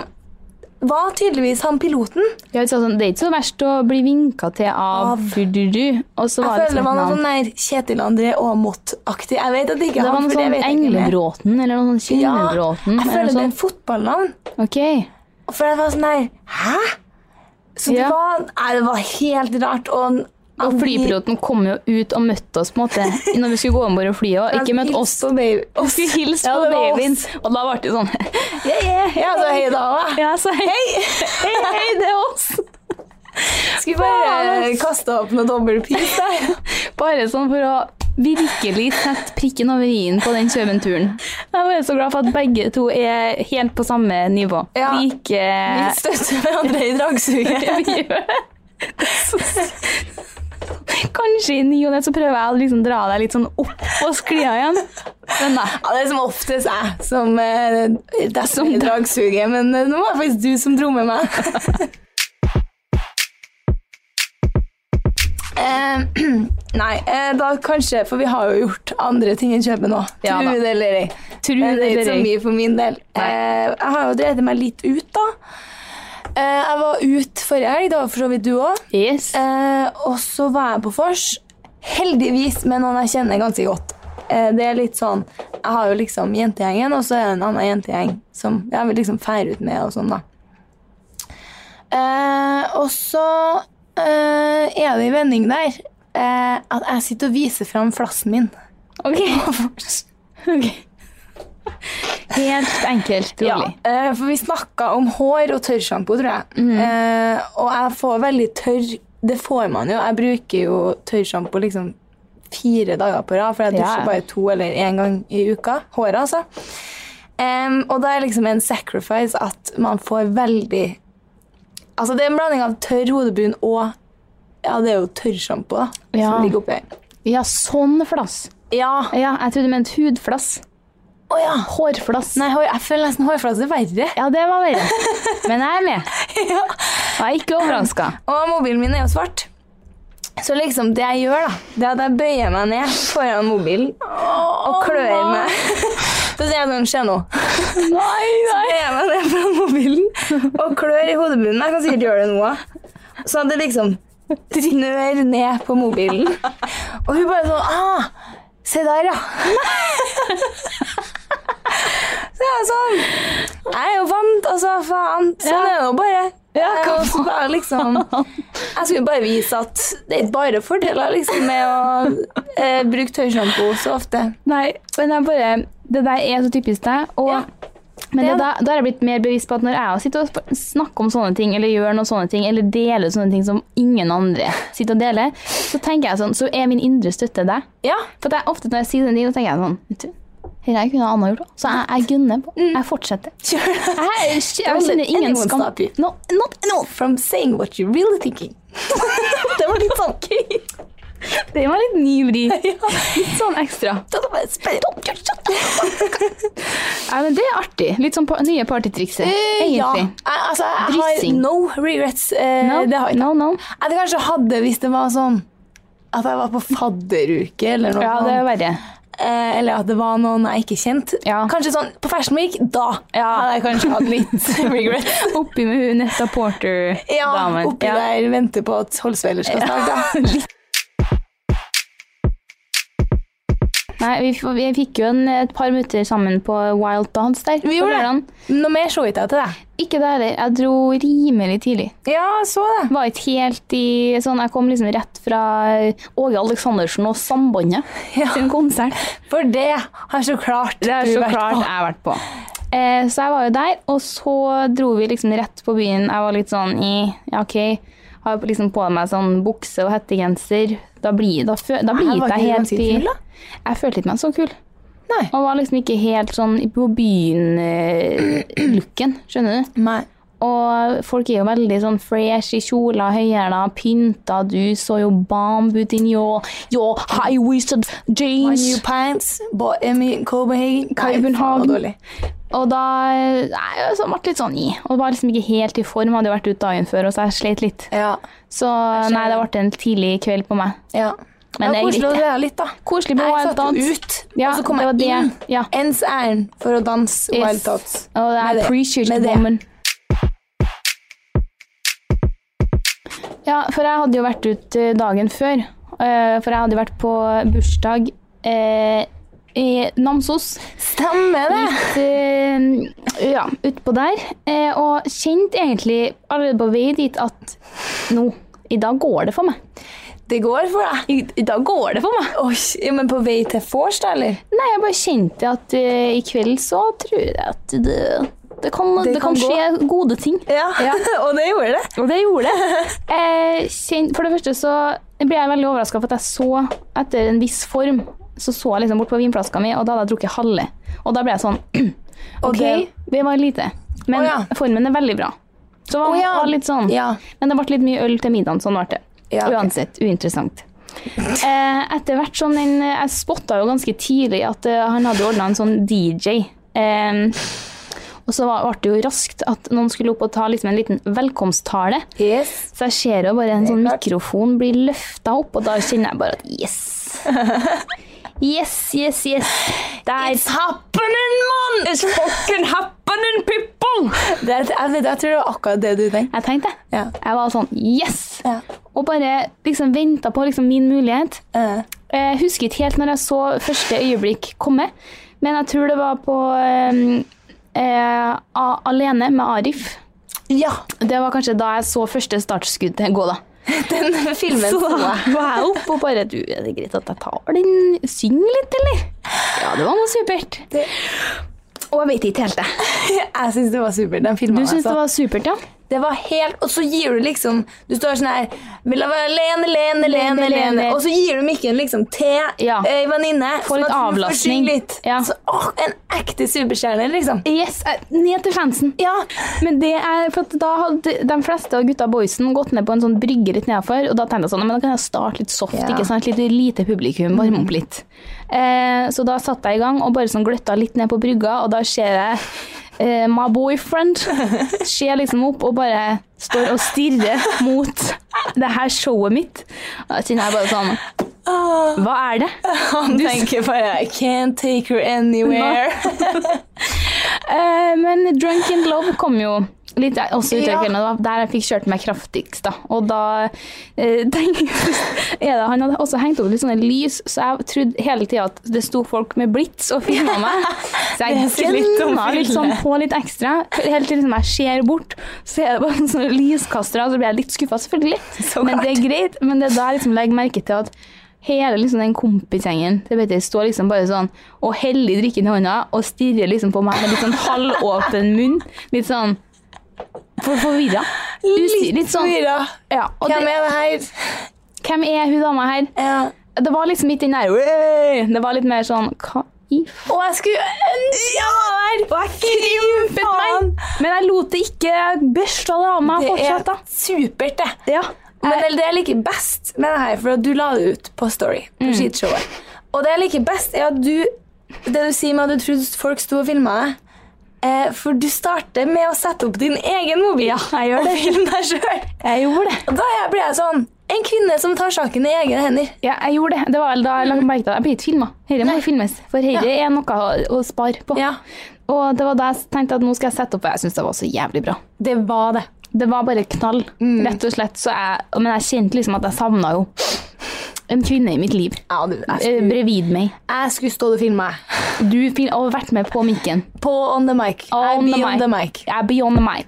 D: var tydeligvis han piloten.
C: Jeg sa sånn, det er ikke så verst å bli vinka til av
D: Av.
C: fururu. Og så var
D: Jeg
C: det liksom
D: føler
C: et
D: man er
C: navn.
D: sånn der Kjetil André Aamodt-aktig. Jeg vet at det ikke
C: Det
D: er
C: var
D: han,
C: noe
D: for det
C: sånn
D: vet jeg ikke. mer.
C: Englebråten eller noe sånn
D: Ja,
C: Kyndelbråten.
D: jeg
C: eller noe
D: føler
C: sånn.
D: det er
C: sånt.
D: et fotballnavn.
C: Ok.
D: For det var sånn der Hæ? Så det,
C: Ja.
D: var, nei, det var helt rart. Og,
C: Og flypiloten kom jo ut og møtte oss på en måte når vi skulle gå om bord og flyet, og ikke møtte oss.
D: på baby.
C: Vi *laughs* skulle hilse
D: Ja,
C: på
D: det var oss.
C: babyen, og da ble det sånn *laughs*
D: Ja, ja, ja, så hei da. da.
C: Ja, så hei, hei, hei, det er oss!
D: Skulle bare kaste opp noe dobbeltpis der.
C: Bare sånn for å virkelig sette prikken over i-en på den kjøpenturen. Jeg var så glad for at begge to er helt på samme nivå.
D: Ja.
C: Like
D: Vi støtter hverandre i
C: *laughs*
D: dragsuget.
C: Ja, *laughs* vi gjør det. Kanskje i ny og ne så prøver jeg å liksom dra deg litt sånn opp og skli av igjen. Men nei.
D: Ja, det er som oftest jeg som eh, det er som dragsuget, men eh, nå var det faktisk du som dro
C: *laughs*
D: med meg. Eh, *clears throat* nei, eh, da kanskje, for vi har jo gjort andre ting enn kjøpe nå.
C: Ja da.
D: Tro det eller ei.
C: Tro
D: Men Det er ikke
C: eller
D: så
C: ei.
D: mye for min del.
C: Nei.
D: Eh, jeg har jo drevet meg litt ut, da. Eh, jeg var ute forrige helg, det var for så vidt du òg.
C: Yes.
D: Eh, og så var jeg på vors. Heldigvis med noen jeg kjenner ganske godt. Eh, det er litt sånn Jeg har jo liksom jentegjengen, og så er det en annen jentegjeng som jeg vil liksom feire ut med og sånn, da. Eh, og så eh, er det en vending der eh, at jeg sitter og viser fram flassen min.
C: Ok. Ok. Helt enkelt rolig.
D: eh, for vi snakka om hår og tørrsjampo, tror jeg. Eh, og jeg får veldig tørr Det får man jo. Jeg bruker jo tørrsjampo liksom fire dager på rad, for
C: Ja,
D: jeg dusjer
C: ja.
D: bare to eller én gang i uka. Håret, altså. Em, og da er liksom en sacrifice at man får veldig Altså, det er en blanding av tørr hodebunn og Ja, det er jo tørrsjampo, da,
C: Ja.
D: som ligger oppi her.
C: Ja, sånn flass.
D: Ja.
C: Ja, jeg trodde du mente hudflass.
D: Å ja.
C: Hårflass.
D: Nei, hår, jeg føler nesten hårflasse er verre.
C: Ja, det var verre. Men jeg er med.
D: *laughs* Ja.
C: Jeg er ikke overraska.
D: Og mobilen min er jo svart. Så liksom det jeg gjør, da, det er at jeg bøyer meg ned foran mobilen og klør meg. *laughs* Så sier jeg sånn Skje nå.
C: Nei,
D: Så bøyer jeg meg ned foran mobilen og klør i hodebunnen. Jeg kan sikkert gjøre det nå òg. Så det liksom drinner ned på mobilen. Og hun bare sånn ah, Se der, ja. *laughs* Så jeg er sånn Jeg er jo vant, altså. Faen. Sånn er det jo bare. Jeg er jo også bare liksom, jeg skulle bare vise at det er ikke bare fordeler liksom, med å eh, bruke tørrsjampo så ofte.
C: *laughs* Nei, men jeg bare Det der er så typisk deg. Og
D: Ja.
C: Men
D: Det
C: det,
D: er
C: da, da har jeg blitt mer bevisst på at når jeg sitter og sp- snakker om sånne ting, eller gjør noen sånne ting, eller deler sånne ting som ingen andre sitter og deler, så tenker jeg sånn, så er min indre støtte deg.
D: *laughs* Ja,
C: For at jeg, ofte når jeg sier den ting, så tenker jeg sånn, vet du, her jeg kunne Anna gjort også. Så jeg, jeg gunner på. Jeg fortsetter.
D: kjør det.
C: Mm. Jeg, jeg, jeg
D: Don't let
C: kjenner ingen
D: anyone
C: skam.
D: stop you.
C: No, not at all.
D: From saying what you're really thinking. *laughs* det var litt *laughs* sånn gøy.
C: Det var litt ny vri. *laughs* Litt sånn ekstra.
D: Da var det spennende.
C: Ja, men det er artig. Litt sånn pa nye partytrikser.
D: Eh,
C: Egentlig.
D: Ja, jeg, altså, jeg har
C: Drissing.
D: no regrets. Eh,
C: No,
D: Det har jeg ikke.
C: no, no.
D: Jeg hadde kanskje hatt det hvis det var sånn at jeg var på fadderuke, eller noe
C: Ja, det er
D: sånt. *laughs*
C: verre.
D: Eh, eller at det var noen jeg ikke kjente.
C: Ja.
D: Kanskje sånn på Fashion Week, da hadde jeg kanskje hatt litt *laughs* regrets.
C: Oppi med hun Netta
D: Ja,
C: Porter-damen.
D: oppi der venter på at Holsveiler skal *laughs* snakke. da.
C: Nei, vi, f- vi fikk jo en, et par møter sammen på Wild Dance der.
D: Vi
C: på
D: gjorde
C: lørdagen.
D: det. Noe mer så ikke jeg til deg.
C: Ikke det heller. Jeg dro rimelig tidlig.
D: Ja, så det.
C: Var ikke helt i sånn Jeg kom liksom rett fra Åge Aleksandersen og Sambandet sin konsert.
D: For det har så klart
C: Det har
D: du
C: så
D: vært
C: klart
D: på.
C: jeg har vært på. Eh, så jeg var jo der, og så dro vi liksom rett på byen. Jeg var litt sånn i Ja, OK. Har liksom på meg sånn bukse og hettegenser. Da blir, da fø, da blir
D: Her var
C: ikke
D: ikke du
C: jeg helt
D: ganske
C: i
D: kul, da?
C: Jeg følte ikke meg så kul.
D: Nei.
C: Og var liksom ikke helt sånn i- på *clears throat* byen-looken, skjønner du.
D: Nei.
C: Og folk er jo veldig sånn fresh i kjoler, høyhæla, pynta, du så jo bomb ut in your, your high-waisted
D: My
C: jeans.
D: new pants, bought them in Copenhagen. Nei,
C: Copenhagen.
D: faen, det var dårlig.
C: Og da nei, jeg så ble litt sånn i. Og var liksom ikke helt i form. Hadde jo vært ute dagen før, og så jeg sleit litt.
D: Ja.
C: Så nei, det ble en tidlig kveld på meg.
D: ja.
C: Men
D: det
C: det
D: er
C: er
D: koselig å
C: greit, det.
D: være litt, da.
C: Koselig på
D: Jeg
C: Wild
D: satt jo
C: Dance.
D: ut,
C: Ja,
D: og så kom
C: det var
D: jeg
C: det.
D: inn
C: Ja.
D: ens ærend for å danse
C: Yes.
D: Wild Thoughts.
C: Og
D: Med
C: I
D: det.
C: appreciate
D: Med
C: the
D: det.
C: woman. Ja, for jeg hadde jo vært ut eh, dagen før. Eh, For jeg hadde jo vært på bursdag eh, i Namsos.
D: Stemmer det!
C: Litt eh, ja, utpå der. Eh, og kjente egentlig allerede på vei dit at nå, i dag går det for meg.
D: Det går for deg.
C: I, i dag går det for meg.
D: Oi, ja, men på vei til vors, da, eller?
C: Nei, jeg bare kjente at eh, i kveld så tror jeg at det, det kan, det
D: kan
C: kan skje gode ting.
D: Ja, og det gjorde det.
C: *laughs* Og det gjorde det.
D: *laughs*
C: Eh, kjen- for det første så ble jeg veldig overraska for at jeg så etter en viss form. Så så jeg liksom bort på vinflaska mi, og da hadde jeg drukket halve. Og da ble jeg sånn *clears throat* OK,
D: det-
C: det var lite. Men
D: Å, ja.
C: formen er veldig bra. Så det var,
D: Å, ja.
C: var litt sånn.
D: Ja.
C: Men det ble litt mye øl til middagen, sånn ble det.
D: Ja, ok.
C: Uansett, uinteressant. Eh, etter hvert som den Jeg spotta jo ganske tidlig at eh, han hadde ordna en sånn DJ. Eh, og så var- ble det jo raskt at noen skulle opp og ta liksom en liten velkomsttale.
D: Yes.
C: Så jeg ser jo bare en sånn
D: klart.
C: mikrofon blir løfta opp, og da kjenner jeg bare at
D: *laughs*
C: yes. Yes, yes, yes. Der.
D: It's happening, man!
C: It's fucking happening, people!
D: Det, er- jeg, vet, jeg tror det var akkurat det du tenkte.
C: Jeg tenkte det.
D: Ja.
C: Jeg var sånn yes!
D: Ja.
C: Og bare liksom venta på liksom min mulighet.
D: Eh,
C: Jeg husker ikke helt når jeg så første øyeblikk komme, men jeg tror det var på eh, eh, A- Alene med Arif.
D: ja.
C: Det var kanskje da jeg så første startskudd gå, da.
D: Den filmen
C: Så
D: så
C: da
D: jeg.
C: var jeg oppe *laughs* og bare Du, er det greit at jeg tar den? Syng litt, eller? Ja, det var noe supert.
D: Det-
C: Og jeg vet ikke altså. helt det.
D: *laughs* Jeg syns det var supert. Den
C: Du
D: filmen
C: syns det var supert, ja?
D: Det var helt Og så gir du liksom Du står sånn her Vil jeg være alene, alene, alene,
C: Alene,
D: alene.
C: alene.
D: Og så gir du mikken liksom til
C: Ja.
D: ei venninne.
C: Få litt
D: sånn at hun får
C: avlastning.
D: synge Litt.
C: Ja.
D: Så, åh, en ekte superstjerne, liksom.
C: Yes, eh, ned til fansen.
D: Ja.
C: Men det er, for at da hadde de fleste av gutta boysen gått ned på en sånn brygge litt nedafor, og da tenkte jeg sånn, men da kan jeg starte litt soft,
D: Ja. Mm.
C: ikke sant? Litt lite publikum, varme opp litt. Eh, så da satt jeg i gang og bare sånn gløtta litt ned på brygga, og da ser jeg eh, my boyfriend ser liksom opp og bare står og stirrer mot det her showet mitt. Og da kjenner jeg bare sånn
D: Ah.
C: Hva er det?
D: Han tenker bare I can't take her
C: *laughs*
D: anywhere.
C: Eh, men Drunk in Love kom jo litt også ut av kvelden, og da- der jeg fikk kjørt meg kraftigst. da. Og da eh, *laughs* tenk- er det, Han hadde også hengt opp litt sånne lys, så jeg trodde hele tida at det sto folk med blits og filma
D: *laughs*
C: meg. Så jeg
D: Det sier litt om
C: gønna litt sånn
D: bildet.
C: på litt ekstra. Helt til liksom jeg ser bort, så er det bare sånne lyskastere, og så altså blir jeg litt skuffa, *laughs* selvfølgelig.
D: Så
C: men det er greit. Men det er da jeg liksom legger merke til at hele liksom den kompisgjengen det vet jeg, står liksom bare sånn og heller drikken i hånda og stirrer liksom på meg med litt sånn halvåpen munn. Litt sånn for forvirra. Usi- Litt sånn
D: forvirra.
C: ja, og
D: Hvem
C: det,
D: er det her?
C: hvem er hun dama her?
D: Ja.
C: Det var liksom ikke den der «Øy!» Det var litt mer sånn Hva i f...
D: Og jeg skulle ønske jeg var der! Og jeg krympet
C: Nei, Men jeg lot det ikke besle av meg
D: Det
C: fortsatt,
D: er
C: da.
D: supert, det.
C: Ja.
D: Men eller det jeg liker best med det her, for at du la det ut på Story, på
C: Mm.
D: skitshowet Og det jeg liker best, er at du Det du sier med at du trodde folk sto og filma deg eh, For du starter med å sette opp din egen mobil
C: Ja, jeg gjør
D: og
C: det.
D: filme deg sjøl.
C: Jeg gjorde det.
D: Og da er jeg- blir jeg sånn En kvinne som tar saken i egne hender.
C: Ja, jeg gjorde det. Det var vel da jeg
D: Mm.
C: lagde merke til at jeg blir ikke filma. Dette må filmes, for dette er noe å, å spare på.
D: Ja.
C: Og det var da jeg tenkte at nå skal jeg sette opp, og jeg syns det var så jævlig bra.
D: Det var det.
C: Det var bare knall,
D: Mm.
C: rett og slett. Så jeg, men jeg kjente liksom at jeg savna jo en kvinne i mitt liv.
D: Ja, du, jeg,
C: eh,
D: skulle,
C: Brevid meg.
D: jeg skulle stå og filme meg.
C: Du fil- og vært med på mikken.
D: På On the mic.
C: On
D: I
C: the
D: be on
C: mic.
D: the mic.
C: Jeg er beyond meg.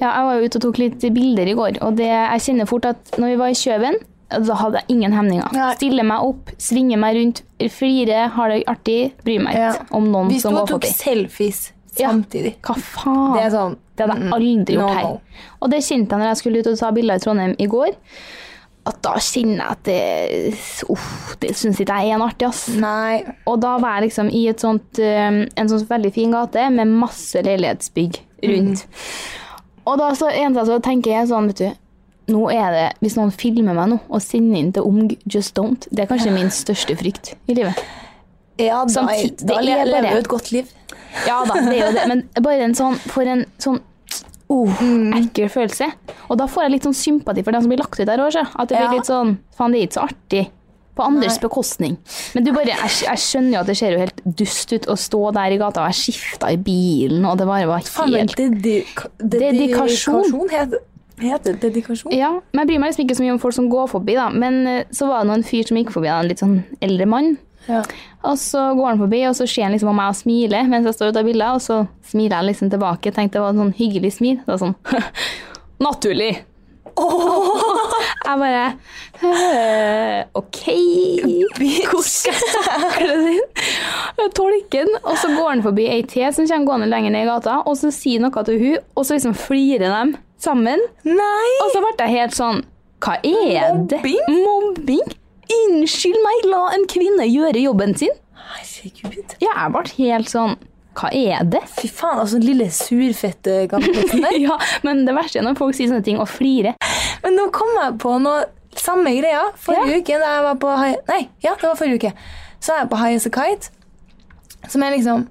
C: Ja, jeg var jo ute og tok litt bilder i går, og det, jeg kjenner fort at når vi var i Kjøben, da hadde jeg ingen hemninger.
D: Nei.
C: Stiller meg opp, svinger meg rundt, flirer, har det artig, bryr meg
D: Ja.
C: ikke om noen
D: Vi sto
C: som
D: og
C: går
D: tok
C: forbi.
D: selfies
C: Ja.
D: samtidig.
C: Hva faen?
D: Det er sånn
C: Det hadde jeg aldri gjort
D: No,
C: her.
D: no.
C: Og det kjente jeg når jeg skulle ut og ta bilder i Trondheim i går. At da kjenner jeg at det Uff, det syns ikke jeg er en artig, ass.
D: Nei.
C: Og da var jeg liksom i et sånt, um, en sånn veldig fin gate med masse leilighetsbygg rundt. Og da så, en dag så tenker jeg sånn, vet du nå er det, Hvis noen filmer meg nå og sender inn til Omg Just Don't, det er kanskje min største frykt i livet.
D: Ja, da,
C: Samtidig-
D: da
C: det er
D: le- lever
C: bare-
D: du et godt liv.
C: Ja da, det er jo det, men bare en sånn For en sånn uh, ekkel følelse. Og da får jeg litt sånn sympati for dem som blir lagt ut der òg. At det blir
D: Ja.
C: litt sånn Faen, det er ikke så artig. På andres bekostning. Men du bare, jeg, jeg skjønner jo at det ser jo helt dust ut å stå der i gata, og jeg skifta i bilen, og det bare var helt Dedikasjon.
D: Dedikasjon heter, heter dedikasjon.
C: ja, men Jeg bryr meg liksom ikke så mye om folk som går forbi, da. Men eh, så var det nå en fyr som gikk forbi, da, en litt sånn eldre mann.
D: Ja.
C: Og så går han forbi, og så ser han liksom på meg og smiler mens jeg står og tar bilder, og så smiler jeg liksom tilbake. Tenkte det var en sånn hyggelig smil. Det var sånn *laughs* Naturlig! Jeg bare «Øh, OK, hvor skal jeg takle den? Jeg tolker den. Og så går han forbi ei til som kommer gående lenger ned i gata, og så sier noe til hun, og så liksom flirer de sammen.
D: Nei!
C: Og så ble jeg helt sånn Hva er det?
D: Mobbing?
C: Mobbing? Unnskyld meg, la en kvinne gjøre jobben sin?
D: Herregud.
C: Ja, jeg ble helt sånn Hva er det?
D: Fy faen, altså den lille surfette *laughs* gamlesen der.
C: *laughs* Ja, men det verste er når folk sier sånne ting og flirer.
D: Men nå kom jeg på noe samme greia. Forrige
C: Ja.
D: uke da jeg var på Hi- Nei, ja, det var forrige uke. Så er jeg på High As A Kite, som er liksom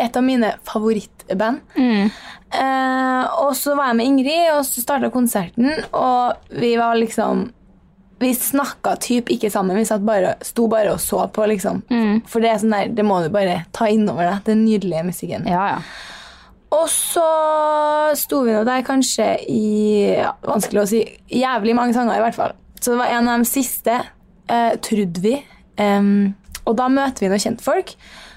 D: et av mine favorittband. Eh, og så var jeg med Ingrid, og så starta konserten, og vi var liksom Vi snakka typ ikke sammen. Vi satt bare, sto bare og så på, liksom. For det er sånn der, det må du bare ta innover deg. Den nydelige musikken.
C: Ja, ja.
D: Og så sto vi nå der kanskje i ja, Vanskelig å si. Jævlig mange sanger, i hvert fall. Så det var en av de siste, eh, trodde vi. Em, og da møter vi noen kjentfolk.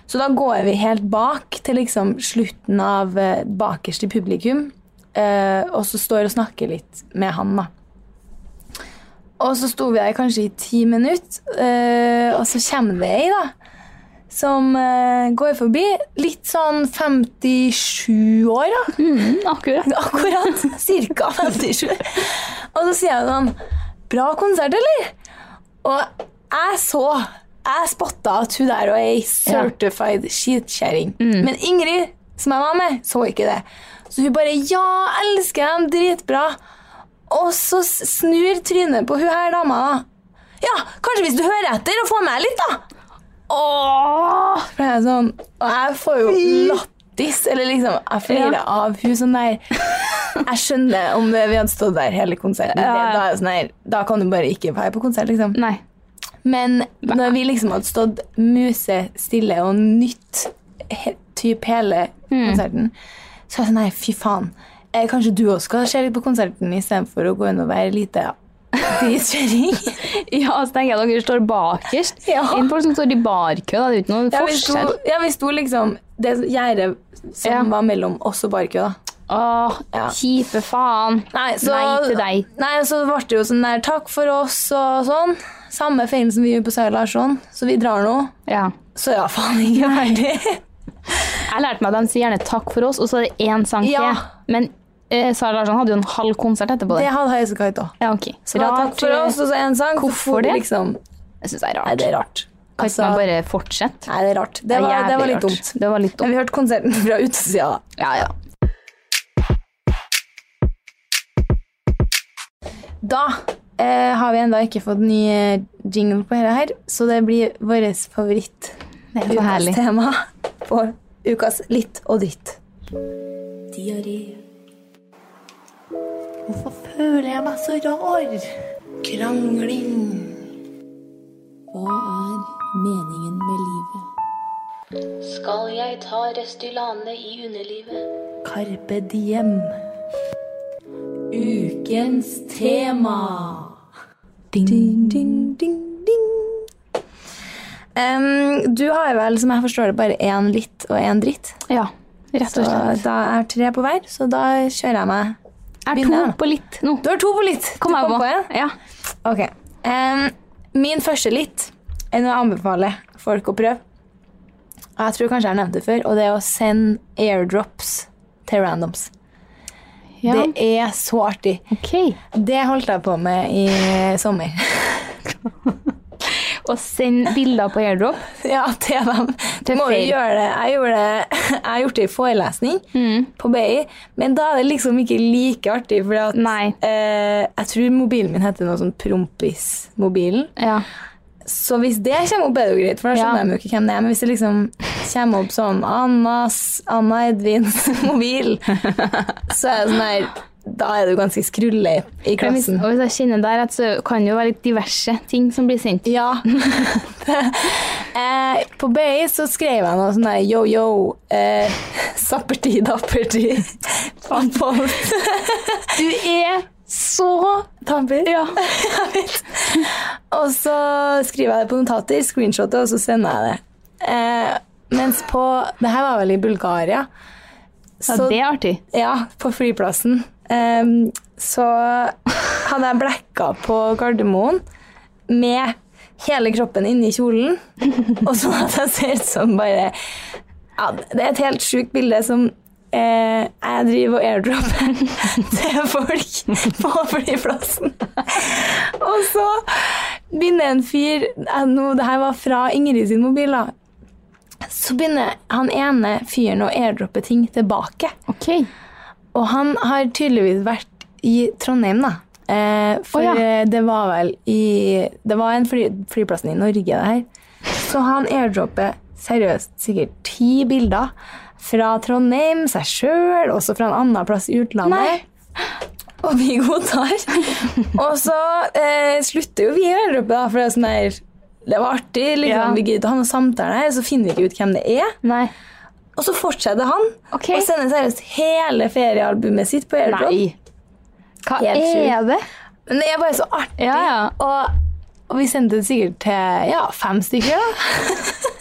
D: Så da går vi helt bak til liksom slutten av eh, bakerst i publikum. eh, og så står og snakker litt med han, da. Og så sto vi der kanskje i ti minutter, eh, og så kommer det ei, da som eh, går forbi. Litt sånn 57 år, da. *laughs*
C: Mm, akkurat.
D: Akkurat. Cirka 57. Og så sier jeg sånn Bra konsert, eller? Og jeg så Jeg spotta at hun der var ei certified skitkjerring. Men Ingrid, som jeg var med, så ikke det. Så hun bare Ja, elsker dem, dritbra. Og så s- snur trynet på hun her dama, da. Ja, kanskje hvis du hører etter og får med litt, da. Åh! For jeg er sånn, og jeg får jo lattis, eller liksom, jeg flirer
C: Ja.
D: av hun sånn der. Jeg skjønner om vi hadde stått der hele konserten.
C: Ja, ja.
D: Da, er jeg sånn der, da kan du bare ikke være på konsert, liksom.
C: Nei.
D: Men når vi liksom hadde stått musestille og nytt he, typ hele konserten, så er jeg sånn her, fy faen. Eh, kanskje du også skal se litt på konserten istedenfor å gå inn og være lite dritkjøring?
C: Ja, så tenker jeg at dere står bakerst.
D: Ja.
C: Enn folk som står i barkø, da. Det er jo ikke noen
D: *laughs* Ja, vi sto,
C: forskjell.
D: ja, vi sto liksom Det gjerdet som
C: Ja.
D: var mellom oss og barkø, da.
C: Åh,
D: Ja.
C: kjipe faen.
D: Nei, så,
C: Nei til deg.
D: Nei, og så ble det jo sånn der Takk for oss og sånn. Samme feilen som vi gjorde på Sara Larsson, så vi drar nå.
C: Ja.
D: Så ja, *laughs* faen ikke ferdig.
C: Jeg lærte meg at de sier gjerne 'takk for oss', og så er det én sang
D: Ja.
C: til. Men eh, Sara Larsson hadde jo en halv konsert etterpå.
D: Det
C: Det.
D: hadde jeg så kalt òg.
C: Ja, ok.
D: Så da, takk for oss, og så en sang. så
C: Hvorfor
D: for
C: det?
D: Liksom,
C: Jeg syns det er
D: nei,
C: rart.
D: det er rart.
C: Kan
D: Altså,
C: ikke man bare fortsette?
D: Nei, det er rart. Det
C: er
D: var, det
C: jævlig
D: var litt
C: rart.
D: dumt.
C: Det var litt
D: Men
C: dumt.
D: vi hørte konserten *laughs* fra utesida. da.
C: Ja, ja.
D: Da eh, har vi ennå ikke fått ny eh, jingle på dette her, så det blir vårt favoritt.
C: Det er så
D: ukas
C: herlig.
D: tema på ukas litt og dritt.
E: Diaré. Hvorfor føler jeg meg så rar? Krangling. Hva er meningen med livet?
F: Skal jeg ta Restylane i underlivet?
E: Carpe diem. Ukens tema.
D: Ding, ding, ding, ding. Em, du har jo vel, som jeg forstår det, bare én litt og én dritt.
C: Ja, rett
D: Så eh,
C: og slett.
D: da er tre på hver, så da kjører jeg meg.
C: Er to
D: begynner jeg.
C: på litt nå.
D: Du har to på litt.
C: Kom
D: du
C: jeg
D: kom
C: på.
D: på en.
C: Ja.
D: Ok. Em, min første litt er noe jeg anbefaler folk å prøve. Og Jeg tror kanskje jeg har nevnt det før, og det er å sende airdrops til randoms.
C: ja.
D: Det er så artig.
C: Ok.
D: Det holdt jeg på med i sommer.
C: Og send bilder på airdrop.
D: Ja, til dem. Du
C: Til
D: må jo
C: feil.
D: gjøre det. Jeg, gjorde det. jeg har gjort det i forelesning
C: Mm.
D: på BI, men da er det liksom ikke like artig, for at,
C: Nei.
D: eh, jeg tror mobilen min heter noe sånn Prompis-mobilen.
C: Ja.
D: Så hvis det kommer opp, er det jo greit, for da skjønner
C: Ja.
D: de jo ikke hvem det er. Men hvis det liksom kommer opp sånn Annas, Anna Edvins *laughs* mobil, så er det sånn her Da er du ganske skrulle i
C: Men Hvis,
D: klassen.
C: og hvis jeg kjenner der at så kan det jo være litt diverse ting som blir sendt. *laughs*
D: Ja. eh, på BI så skrev jeg noe sånn der yo-yo eh, Sapperti, dapperti.
C: Du er så
D: Tamper. Ja. jeg vet. og så skriver jeg det på notater, screenshotet, og så sender jeg det. Eh, mens på Det her var vel i Bulgaria.
C: Ja,
D: Så-
C: det er artig.
D: Ja, på flyplassen. Ehm, så hadde jeg blekka på Gardermoen med hele kroppen inni kjolen. Og så at jeg ser ut som bare ja, Det er et helt sjukt bilde som eh, jeg driver og airdropper til folk på flyplassen. Og så begynner en fyr eh, nå, Det her var fra Ingrid sin mobil, da. Så begynner han ene fyren å airdroppe ting tilbake.
C: Ok.
D: Og han har tydeligvis vært i Trondheim, da. Eh, for
C: Å, ja.
D: eh, det var vel i Det var en fly, flyplassen i Norge, det her. Så han airdropper seriøst sikkert ti bilder fra Trondheim, seg sjøl, også fra en annen plass i utlandet. Og vi godtar. og så eh, slutter jo vi å airdroppe, da, for det er sånn her Det var artig, liksom.
C: Ja.
D: Vi gidder ikke å ha noen samtale her, så finner vi ikke ut hvem det er.
C: Nei.
D: Og så fortsetter han
C: Ok.
D: og sender seriøst hele feriealbumet sitt på airdrop.
C: Hva
D: Helt
C: er
D: sjukt.
C: det?
D: Men det er bare så artig.
C: Ja, ja.
D: Og, og vi sendte det sikkert til ja, fem stykker.
C: *laughs*
D: da.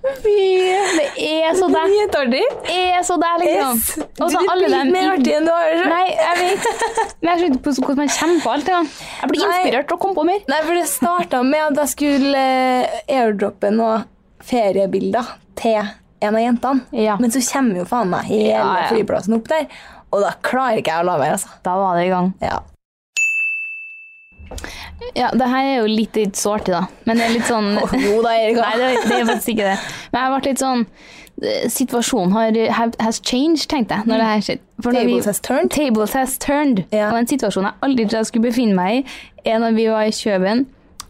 D: Fy, det
C: er så deg.
D: Dritartig.
C: Er så der, liksom.
D: Yes.
C: Og så
D: Du blir
C: alle dem
D: mer artig enn du har det.
C: Nei, jeg vet. Men jeg skjønner ikke hvordan man kommer på alt det. da. Jeg blir
D: Nei.
C: inspirert til å komme på mer.
D: Nei, for det starta med at jeg skulle eh, airdroppe noen feriebilder til en av jentene.
C: Ja.
D: Men så kommer jo faen meg hele
C: Ja, ja.
D: flyplassen opp der, og da klarer ikke jeg å la være. altså.
C: Da var det i gang. *laughs*
D: Ja.
C: Ja, det her er jo litt, litt så artig, da. Men det er litt
D: *laughs*
C: sånn
D: Å, jo da, Erika.
C: Nei, det, det er faktisk ikke det. Men jeg ble litt sånn eh, Situasjonen har, have- has changed, tenkte jeg. Når det her skjedde. For når vi-
D: Tables has turned.
C: Tables has turned.
D: Ja.
C: Og en situasjon jeg aldri trodde jeg skulle befinne meg i, er når vi var i Kjøben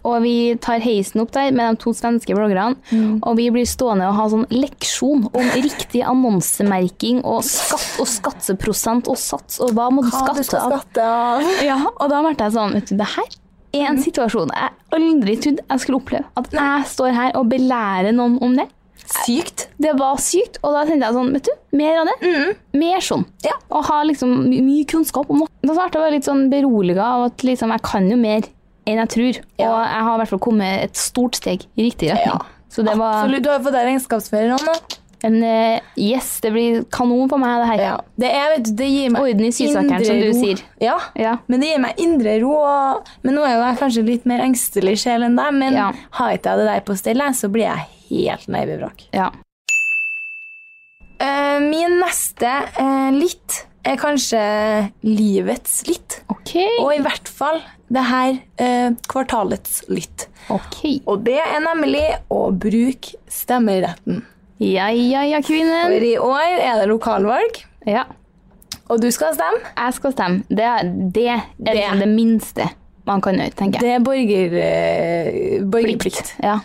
C: Og vi tar heisen opp der med de to svenske bloggerne.
D: Mm.
C: Og vi blir stående og ha sånn leksjon om riktig annonsemerking og skatt og skatteprosent og sats og hva må du
D: Hva du
C: skatte
D: skal
C: av.
D: skatte av.
C: *laughs* Ja, og da ble jeg sånn, vet du, det her er
D: Mhm.
C: en situasjon jeg aldri trodde jeg skulle oppleve. At jeg står her og belærer noen om det.
D: Sykt.
C: Det var sykt, og da tenkte jeg sånn, vet du, mer av det. Mer sånn.
D: Mhm. Ja.
C: Og ha liksom my mye kunnskap om noe. Da svarte jeg bare litt sånn beroliget av at liksom, jeg kan jo mer enn jeg tror. Og jeg har i hvert fall kommet et stort steg i riktig retning. Så det var
D: Absolutt. Du har jo fått deg regnskapsfører nå. nå.
C: en eh, yes, det blir kanon for meg, det her.
D: Ja. Det, er, vet du, det gir meg
C: Orden i sysakeren, som du
D: indre ro.
C: sier.
D: Ja.
C: Ja.
D: Men det gir meg indre ro. Og, men nå er jo jeg kanskje litt mer engstelig sjel enn deg, men
C: Ja.
D: har ikke jeg det der på stell, jeg, så blir jeg helt nervevrak.
C: Ja.
D: Eh, min neste eh, litt er kanskje livets litt.
C: Ok.
D: Og i hvert fall det her eh, kvartalets litt.
C: Ok.
D: Og det er nemlig å bruke stemmeretten.
C: Ja, ja, ja, kvinnen.
D: For i år er det lokalvalg,
C: Ja,
D: og du skal stemme.
C: jeg skal stemme. Det, er- det er det,
D: Det.
C: minste man kan gjøre, tenker jeg.
D: Det er borger, eh, borgerplikt.
C: Ja.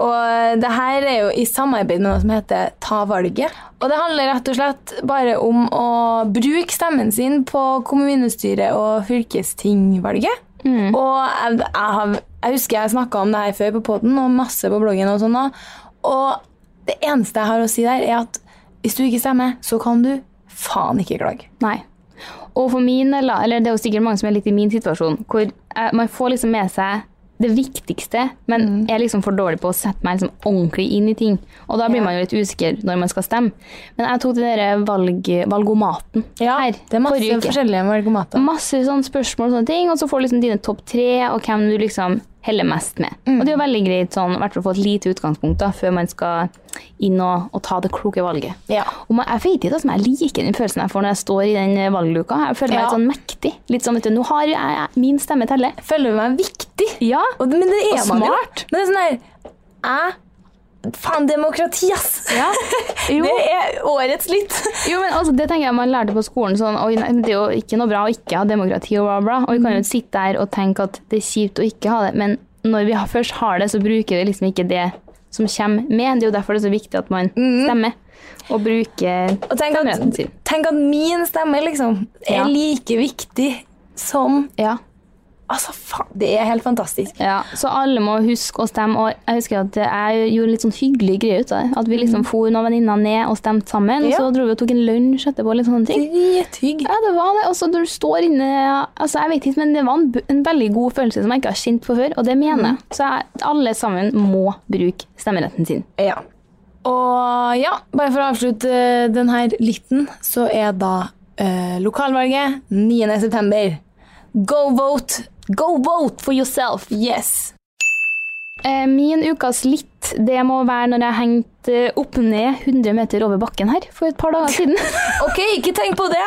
D: Og det her er jo i samarbeid med noe som heter Ta valget. Og det handler rett og slett bare om å bruke stemmen sin på kommunestyret og fylkestingvalget.
C: Mm.
D: Og jeg, jeg, har, jeg husker jeg snakka om det her før på poden og masse på bloggen. Og sånn da. Og det eneste jeg har å si der, er at hvis du ikke stemmer, så kan du faen ikke klage.
C: Nei. Og for min del, da, eller det er jo sikkert mange som er litt i min situasjon, hvor eh, man får liksom med seg det viktigste, men
D: Mm.
C: er liksom for dårlig på å sette meg liksom ordentlig inn i ting. Og da blir man jo litt usikker når man skal stemme. Men jeg tok den der valg, valgomaten her
D: det er masse
C: forrige uke.
D: forskjellige valgomater.
C: Masse sånne spørsmål og sånne ting, og så får du liksom dine topp tre, og hvem du liksom heller mest med.
D: Mm.
C: Og det er jo veldig greit sånn, i hvert fall å få et lite utgangspunkt da, før man skal inn og, og ta det kloke valget.
D: Ja.
C: Og man, jeg vet ikke altså, men jeg liker den følelsen jeg får når jeg står i den eh, valgluka. Jeg føler meg
D: Ja.
C: litt sånn mektig. Litt sånn, vet du, nå har jeg, jeg min stemme teller.
D: Føler du meg viktig?
C: Ja,
D: Og, men det er
C: Og
D: man jo.
C: smart.
D: Men det er sånn her Jeg Faen, demokrati, ass! *laughs*
C: Ja. Jo.
D: Det er årets litt.
C: Jo, men altså, det tenker jeg man lærte på skolen. sånn, Oi, nei, det er jo ikke noe bra å ikke ha demokrati og bla, bla. Og vi kan
D: Mm.
C: jo sitte der og tenke at det er kjipt å ikke ha det, men når vi har, først har det, så bruker vi liksom ikke det som kommer med. Det er jo derfor det er så viktig at man stemmer og bruker
D: Mm. Og tenk
C: stemmeretten
D: at,
C: sin.
D: tenk at min stemme liksom er
C: Ja.
D: like viktig som
C: Ja.
D: Altså, faen, det er helt fantastisk.
C: Ja, så alle må huske å stemme. Og jeg husker at jeg gjorde litt sånn hyggelig greie ut av det. At vi liksom for noen venninner ned og stemte sammen.
D: Mm. Ja.
C: Og så dro vi og tok en lunsj etterpå. litt sånne ting.
D: Drithygg.
C: Ja, det var det. Og så når du står inne altså jeg vet ikke, men Det var en, bu- en veldig god følelse som jeg ikke har kjent på før, og det mener jeg. Så jeg, alle sammen må bruke stemmeretten sin.
D: Ja. Og ja, bare for å avslutte eh, den her liten, så er da eh, lokalvalget 9. september. Go vote! Go vote for yourself! Yes!
C: Eh, Min ukas litt, det må være når jeg hengte opp ned 100 meter over bakken her for et par dager siden. *laughs*
D: OK, ikke tenk på det!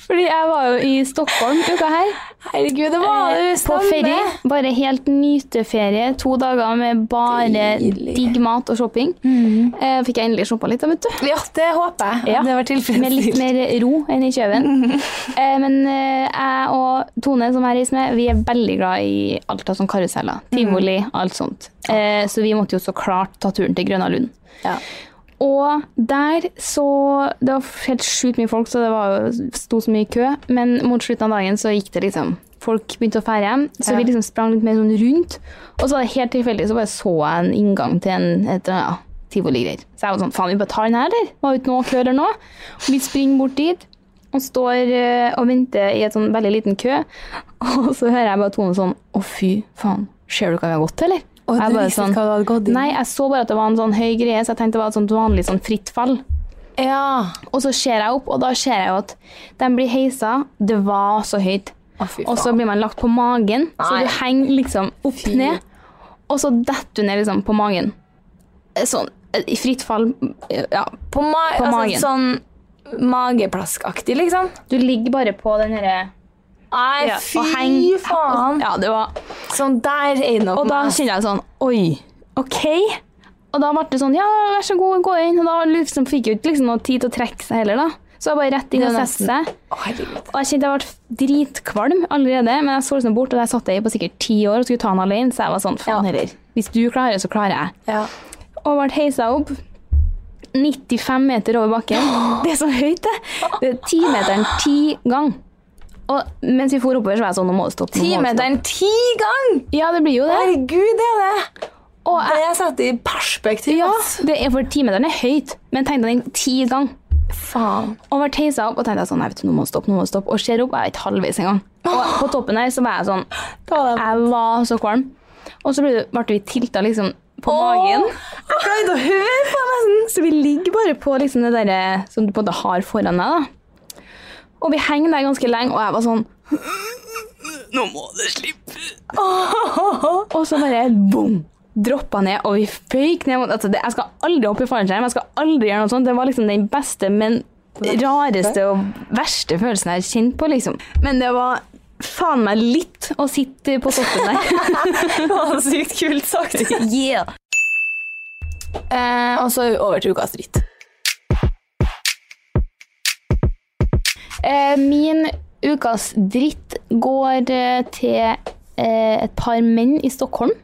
C: Fordi jeg var jo i Stockholm uka her.
D: Herregud, det var
C: Eh,
D: det
C: På ferie. Bare helt nyteferie. To dager med bare
D: Deilig.
C: digg mat og shopping. Eh, Fikk jeg endelig shoppa litt, da, vet du.
D: Ja, det håper jeg.
C: Ja.
D: Det var
C: Med litt
D: tilfredsstilt.
C: mer ro enn i
D: *laughs*
C: kjøven. Eh, Men eh, jeg og Tone, som jeg reiser med, vi er veldig glad i alt av sånn karuseller. Tivoli,
D: Mm.
C: alt sånt. Eh, Så vi måtte jo så klart ta turen til Grøna Lund.
D: Ja.
C: Og der så Det var helt sjukt mye folk, så det var jo, sto så mye i kø. Men mot slutten av dagen så gikk det liksom Folk begynte å fære hjem, så
D: Ja.
C: vi liksom sprang litt mer sånn rundt. Og så var det helt tilfeldig så bare så jeg en inngang til en et eller annet ja, tivoligreier. Så jeg var sånn Faen, vi bare tar den her, eller? Var jo ikke noe kø der nå. Og vi springer bort dit og står eh, og venter i et sånn veldig liten kø. Og så hører jeg bare Tone sånn Å, fy faen. Ser du hva vi har gått til, eller?
D: Og
C: Jeg
D: du
C: bare sånn-
D: visste ikke hva du hadde gått i.
C: Nei, jeg så bare at det var en sånn høy greie, så jeg tenkte det var et sånt vanlig sånn fritt fall.
D: Ja.
C: Og så ser jeg opp, og da ser jeg jo at de blir heisa. Det var så høyt. Og så blir man lagt på magen, så
D: Nei.
C: du henger liksom opp ned. Og så detter du ned liksom på magen. Eh, Sånn eh, i fritt fall. eh, Ja.
D: På, ma
C: På magen.
D: Altså, sånn mageplaskaktig, liksom.
C: Du ligger bare på den herre
D: Nei,
C: ja,
D: fy
C: og henger-
D: faen!
C: Ja, det var
D: Sånn der er det nok
C: Og da
D: meg.
C: kjenner jeg sånn Oi, OK? Og da ble det sånn Ja, vær så god, gå inn. Og da liksom fikk jeg jo ikke liksom noe tid til å trekke seg heller, da. Så jeg bare rett inn
D: Det er
C: og sette seg.
D: Å, herregud.
C: Og jeg kjente jeg ble dritkvalm allerede, men jeg så liksom bort, og der satt jeg på sikkert ti år og skulle ta den alene, så jeg var sånn, faen
D: Ja.
C: heller. Hvis du klarer, så klarer jeg.
D: Ja.
C: Og ble heisa opp 95 meter over bakken.
D: *gasps*
C: Det er så høyt, det! Det er timeteren ti gang. Og mens vi for oppover, så var jeg sånn, nå må det stoppe. nå må det stoppe.
D: Timeteren ti gang!
C: Ja, det blir jo det.
D: Herregud, det er det!
C: Og jeg,
D: Det er satt i perspektiv.
C: ja,
D: ass.
C: det er for timeteren er høyt, men tenkte den ti gang.
D: Faen.
C: Og ble heisa opp og tenkte jeg sånn, nei, vet du, nå må det stoppe, nå må det stoppe. Og ser opp, jeg er ikke halvveis engang. Og på toppen her så var jeg sånn,
D: Ta deg-
C: jeg var så kvalm. Og så ble, det- ble vi tilta liksom på magen.
D: Jeg pleide å høre på nesten.
C: Mm, Så vi ligger bare på liksom det der som du på en måte har foran deg. da. Og vi henger der ganske lenge, og jeg var sånn *laughs* Nå må det slippe! *laughs* og så bare boom! Droppa ned, og vi føyk ned mot altså, det, Jeg skal aldri hoppe i fallskjerm. Jeg skal aldri gjøre noe sånt. Det var liksom den beste, men rareste og verste følelsen jeg har kjent på, liksom. Men det var faen meg litt å sitte på toppen der.
D: Det var sykt kult sagt.
C: yeah.
D: Eh, og så over til ukas dritt.
C: Eh, min ukas dritt går eh, til eh, et par menn i Stockholm.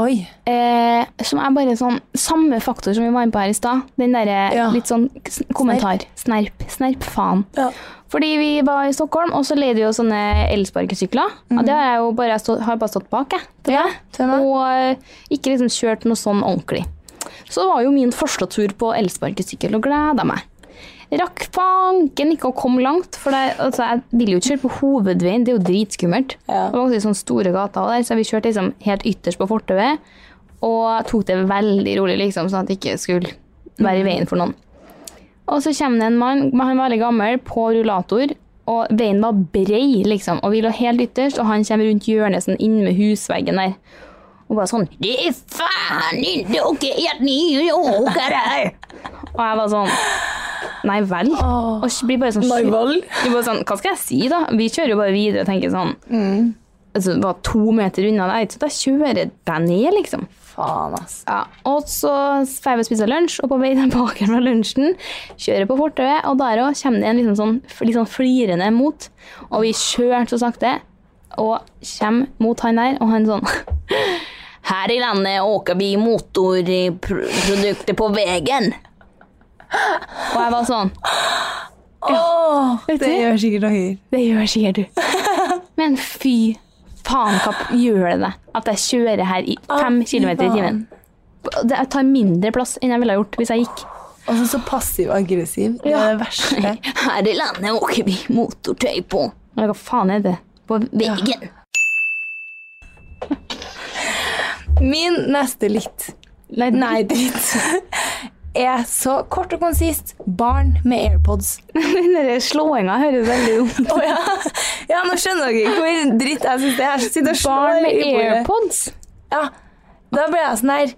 D: Oi.
C: Eh, som er bare sånn Samme faktor som vi var inne på her i stad. Den derre
D: Ja.
C: litt sånn s- kommentar. Snerp. Snerp, faen.
D: Ja.
C: Fordi vi var i Stockholm, og så leide vi jo sånne elsparkesykler. Og det har jeg jo bare, stå, har bare stått bak, jeg. til
D: Mm. Ja,
C: det.
D: til meg.
C: og eh, ikke liksom kjørt noe sånn ordentlig. Så det var jo min første tur på elsparkesykkel, og gleda meg. Rakk banken ikke å komme langt, for det, altså, jeg ville jo ikke kjøre på hovedveien, det er jo dritskummelt.
D: Ja.
C: Det var ganske sånn store gater der, så vi kjørte liksom helt ytterst på fortauet, og tok det veldig rolig, liksom, sånn at det ikke skulle være i veien for noen. Og så kommer det en mann, men han var veldig gammel, på rullator. Og veien var brei, liksom. Og vi lå helt ytterst, og han kommer rundt hjørnet sånn inn med husveggen der. Og bare sånn Det er faen ikke ok at ni åker her! og jeg var sånn Nei vel? Og så blir bare sånn
D: Nei
C: sjuk-
D: vel?
C: Vi bare sånn Hva skal jeg si, da? Vi kjører jo bare videre og tenker sånn
D: Mm.
C: Altså, det var to meter unna deg, så da kjører jeg ned, liksom.
D: Faen, ass.
C: Ja, og så får vi spise lunsj, og på vei tilbake fra lunsjen kjører på fortauet, og der også kommer det en liksom sånn, litt sånn flirende mot. Og vi kjører så sakte, og kommer mot han der, og han sånn *laughs* Her i landet åker vi motorprodukter på veien. Og jeg var sånn
D: Åh,
C: Vet du,
D: gjør sikkert noe.
C: det gjør sikkert du. Men fy faen, hva gjør det deg at jeg kjører her i fem
D: fy
C: kilometer i timen? Det jeg tar mindre plass enn jeg ville ha gjort hvis jeg gikk.
D: Og Altså, så så passiv-aggressiv. Det er det verste.
C: Her i landet åker vi motortøy på. Nei, hva faen er det? På veggen.
D: *laughs* Min neste litt
C: Nei,
D: Nei, *laughs* dritt. Er så kort og konsist barn med airpods.
C: den der slåinga høres veldig dumt ut.
D: Å ja. ja, nå skjønner dere hvor dritt jeg syns det er. Jeg sitter og slår
C: Barn med
D: i bordet.
C: airpods.
D: Ja. Da ble jeg sånn her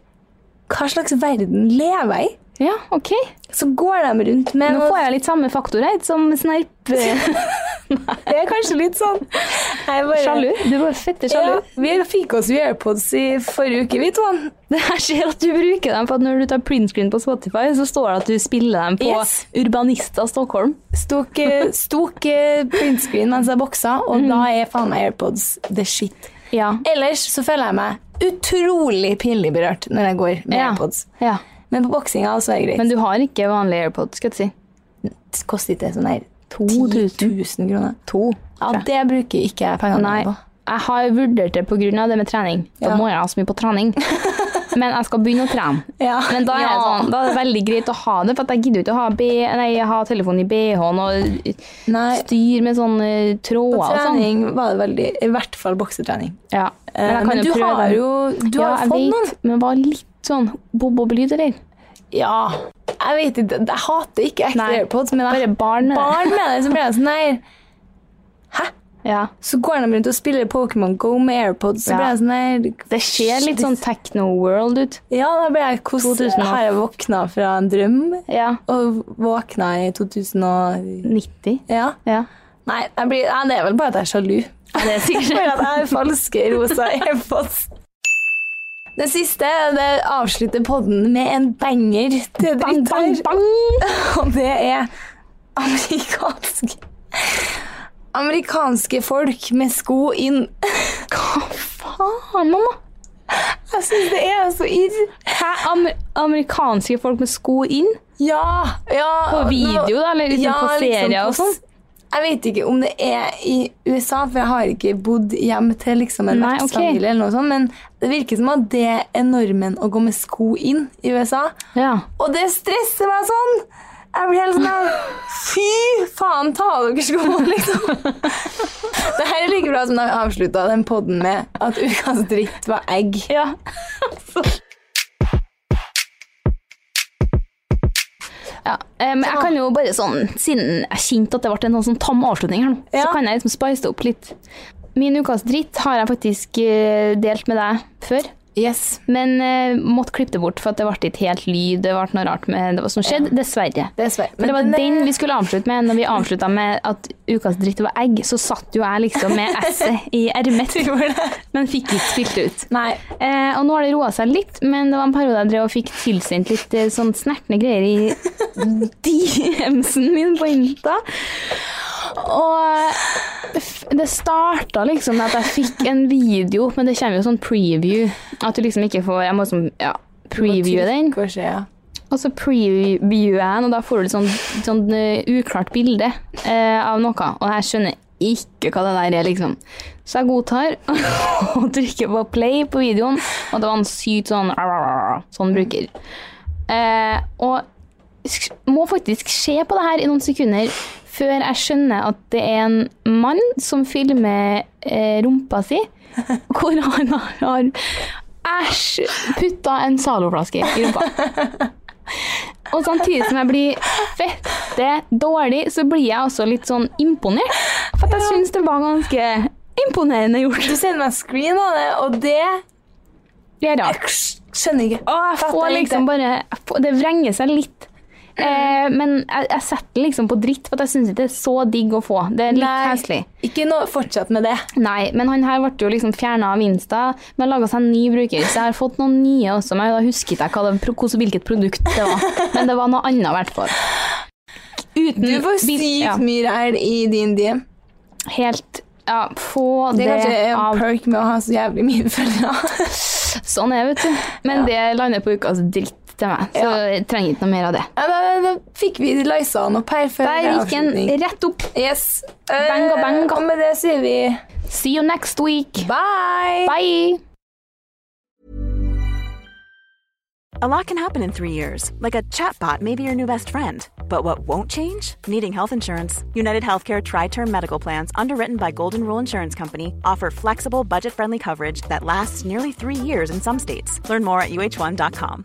D: Hva slags verden lever jeg i?
C: Ja, ok.
D: Så går de rundt med sånn-
C: Nå får jeg litt samme faktor her, som snerp...
D: *laughs* Det er kanskje litt sånn Jeg bare-
C: Sjalu. Du var fette sjalu.
D: Ja,
C: *laughs*
D: vi fikk oss jo AirPods i forrige uke, vi to.
C: Jeg ser at du bruker dem, for at når du tar printscreen på Spotify, så står det at du spiller dem på
D: Yes.
C: Urbanista Stockholm.
D: Stok, eh, stok eh, printscreen mens jeg boksa, og da
C: Mhm.
D: er faen meg AirPods the shit.
C: Ja.
D: Ellers så føler jeg meg utrolig pinlig berørt når jeg går med
C: Ja.
D: AirPods.
C: ja.
D: Men på boksinga så er det greit.
C: Men du har ikke vanlige AirPods, skal jeg si.
D: det koster ikke sånn her 10
C: 2000.
D: 000 kroner. Ja, det bruker ikke jeg pengene
C: Nei,
D: mine på.
C: jeg har vurdert det på grunn av det med trening. Da
D: Ja.
C: må jeg ha så mye på
D: *laughs*
C: trening. Men jeg skal begynne å trene.
D: Ja.
C: Men da er, det
D: Ja.
C: sånn, da er det veldig greit å ha det, for at jeg gidder jo ikke å ha, B, nei, ha telefonen i BH-en og
D: Nei.
C: styr med sånne tråder
D: På
C: og sånn.
D: trening var det veldig I hvert fall boksetrening.
C: Ja.
D: Eh,
C: jeg kan
D: men du har
C: dem.
D: jo- du har
C: ja, jeg
D: fått
C: vet, Men var litt sånn bob-bob-lyd, eller?
D: Ja. Jeg vet ikke, jeg hater ikke ekte
C: Nei,
D: AirPods, men
C: Bare
D: jeg
C: barn. eller?
D: barn med det, så blir jeg sånn her
C: Ja.
D: Så går de rundt og spiller Pokémon Go med AirPods, så
C: Ja.
D: blir jeg sånn her
C: Det ser litt sånn techno-world ut.
D: Ja, da ble jeg Hvordan
C: 2000 og-
D: har jeg våkna fra en drøm?
C: Ja.
D: Og våkna i 2000 og
C: 90.
D: Ja.
C: Ja.
D: Nei, jeg blir, nei, det er vel bare at jeg er sjalu.
C: Det er
D: *laughs*
C: sikkert
D: For at jeg er falske rosa airpods. Det siste det avslutter podden med en banger til
C: Bang,
D: dritt
C: bang,
D: her.
C: bang!
D: Og det er Amerikansk Amerikanske folk med sko inn.
G: Hva faen, mamma?
D: Jeg syns det er så irr.
G: Hæ? Amer amerikanske folk med sko inn?
D: Ja, ja.
G: På
D: nå-
G: video, da? Eller liksom på ferie
D: liksom
G: og
D: på
G: sånn?
D: s- Jeg vet ikke om det er i USA, for jeg har ikke bodd hjem til liksom en
G: Nei, ok.
D: vertsfamilie. eller noe sånt, Men det virker som at det er normen å gå med sko inn i USA.
G: Ja.
D: Og det stresser meg sånn! Jeg blir helt sånn her, Fy faen, ta av dere skoene, liksom.
G: *laughs*
D: Det her er like bra som da vi avslutta den podden med at ukas dritt var egg.
G: ja. Ja, eh, men jeg kan jo bare sånn, Siden jeg kjente at det ble en sånn, sånn tam avslutning her nå,
D: Ja.
G: så kan jeg liksom spice det opp litt. Min ukas dritt har jeg faktisk eh, delt med deg før.
D: Yes.
G: Men eh, måtte klippe det bort, for at det ble ikke helt lyd. Det ble noe rart med det som skjedde. Dessverre.
D: Dessverre.
G: For det var
D: Men den er-
G: den vi skulle avslutte med. Når vi avslutta med at ukas dritt var egg, så satt jo jeg liksom med esset i
D: *laughs*
G: ermet, men fikk ikke spilt det ut.
D: Nei.
G: Eh, og nå har det roa seg litt, men det var en periode jeg drev og fikk tilsendt litt eh, sånn snertne greier i DM-en min på Insta. Og f- det starta liksom med at jeg fikk en video, men det kommer jo sånn preview. At du liksom ikke får Jeg må liksom ja, previewe den.
D: Hva skjer, ja.
G: Og så previewer jeg den, og da får du et sånn, sånn eh, uklart bilde eh, av noe. Og jeg skjønner ikke hva det der er, liksom. Så jeg godtar *laughs* og trykker på play på videoen, og det var en sykt sånn sånn bruker. Eh, og sk- må faktisk se på det her i noen sekunder før jeg skjønner at det er en mann som filmer eh, rumpa si, hvor han har, har æsj putta en Zalo-flaske i rumpa. Og samtidig som jeg blir fette dårlig, så blir jeg også litt sånn imponert. For at jeg syns det var ganske imponerende gjort.
D: Du sender meg screen av det, og det
G: Det er rart.
D: skjønner jeg ikke. Mm.
G: Og jeg får liksom bare jeg får- Det vrenger seg litt. Eh, men jeg, jeg setter det liksom på dritt, for at jeg syns ikke det er så digg å få. Det er litt
D: Nei.
G: heslig.
D: Ikke noe, fortsett med det.
G: Nei, men han her ble jo liksom fjerna av Insta, men laga seg en ny bruker. Så jeg har fått noen nye også, men da husket jeg hva det, hvordan- hvilket produkt det var. Men det var noe annet, i hvert fall. Uten
D: Du får
G: vis-
D: sykt
G: ja.
D: mye ræl i din DM.
G: helt ja, få
D: Det
G: det,
D: er kanskje en
G: av
D: perk med å ha så jævlig mye *laughs* følgere.
G: Sånn er det, vet du. Men det lander på ukas dritt til meg, så jeg trenger ikke noe mer av det.
D: Ja, da, da fikk vi løysa han opp her før
G: Der
D: det
G: gikk en
D: avslutning.
G: rett opp.
D: Yes. Eh,
G: Banga, banga.
D: Og med det sier vi
G: See you next week.
D: bye.
G: Bye.
A: A lot can happen in three years, like a chatbot may be your new best friend. But what won't change? Needing health insurance. United Healthcare Tri Term Medical Plans, underwritten by Golden Rule Insurance Company, offer flexible, budget friendly coverage that lasts nearly three years in some states. Learn more at uh1.com.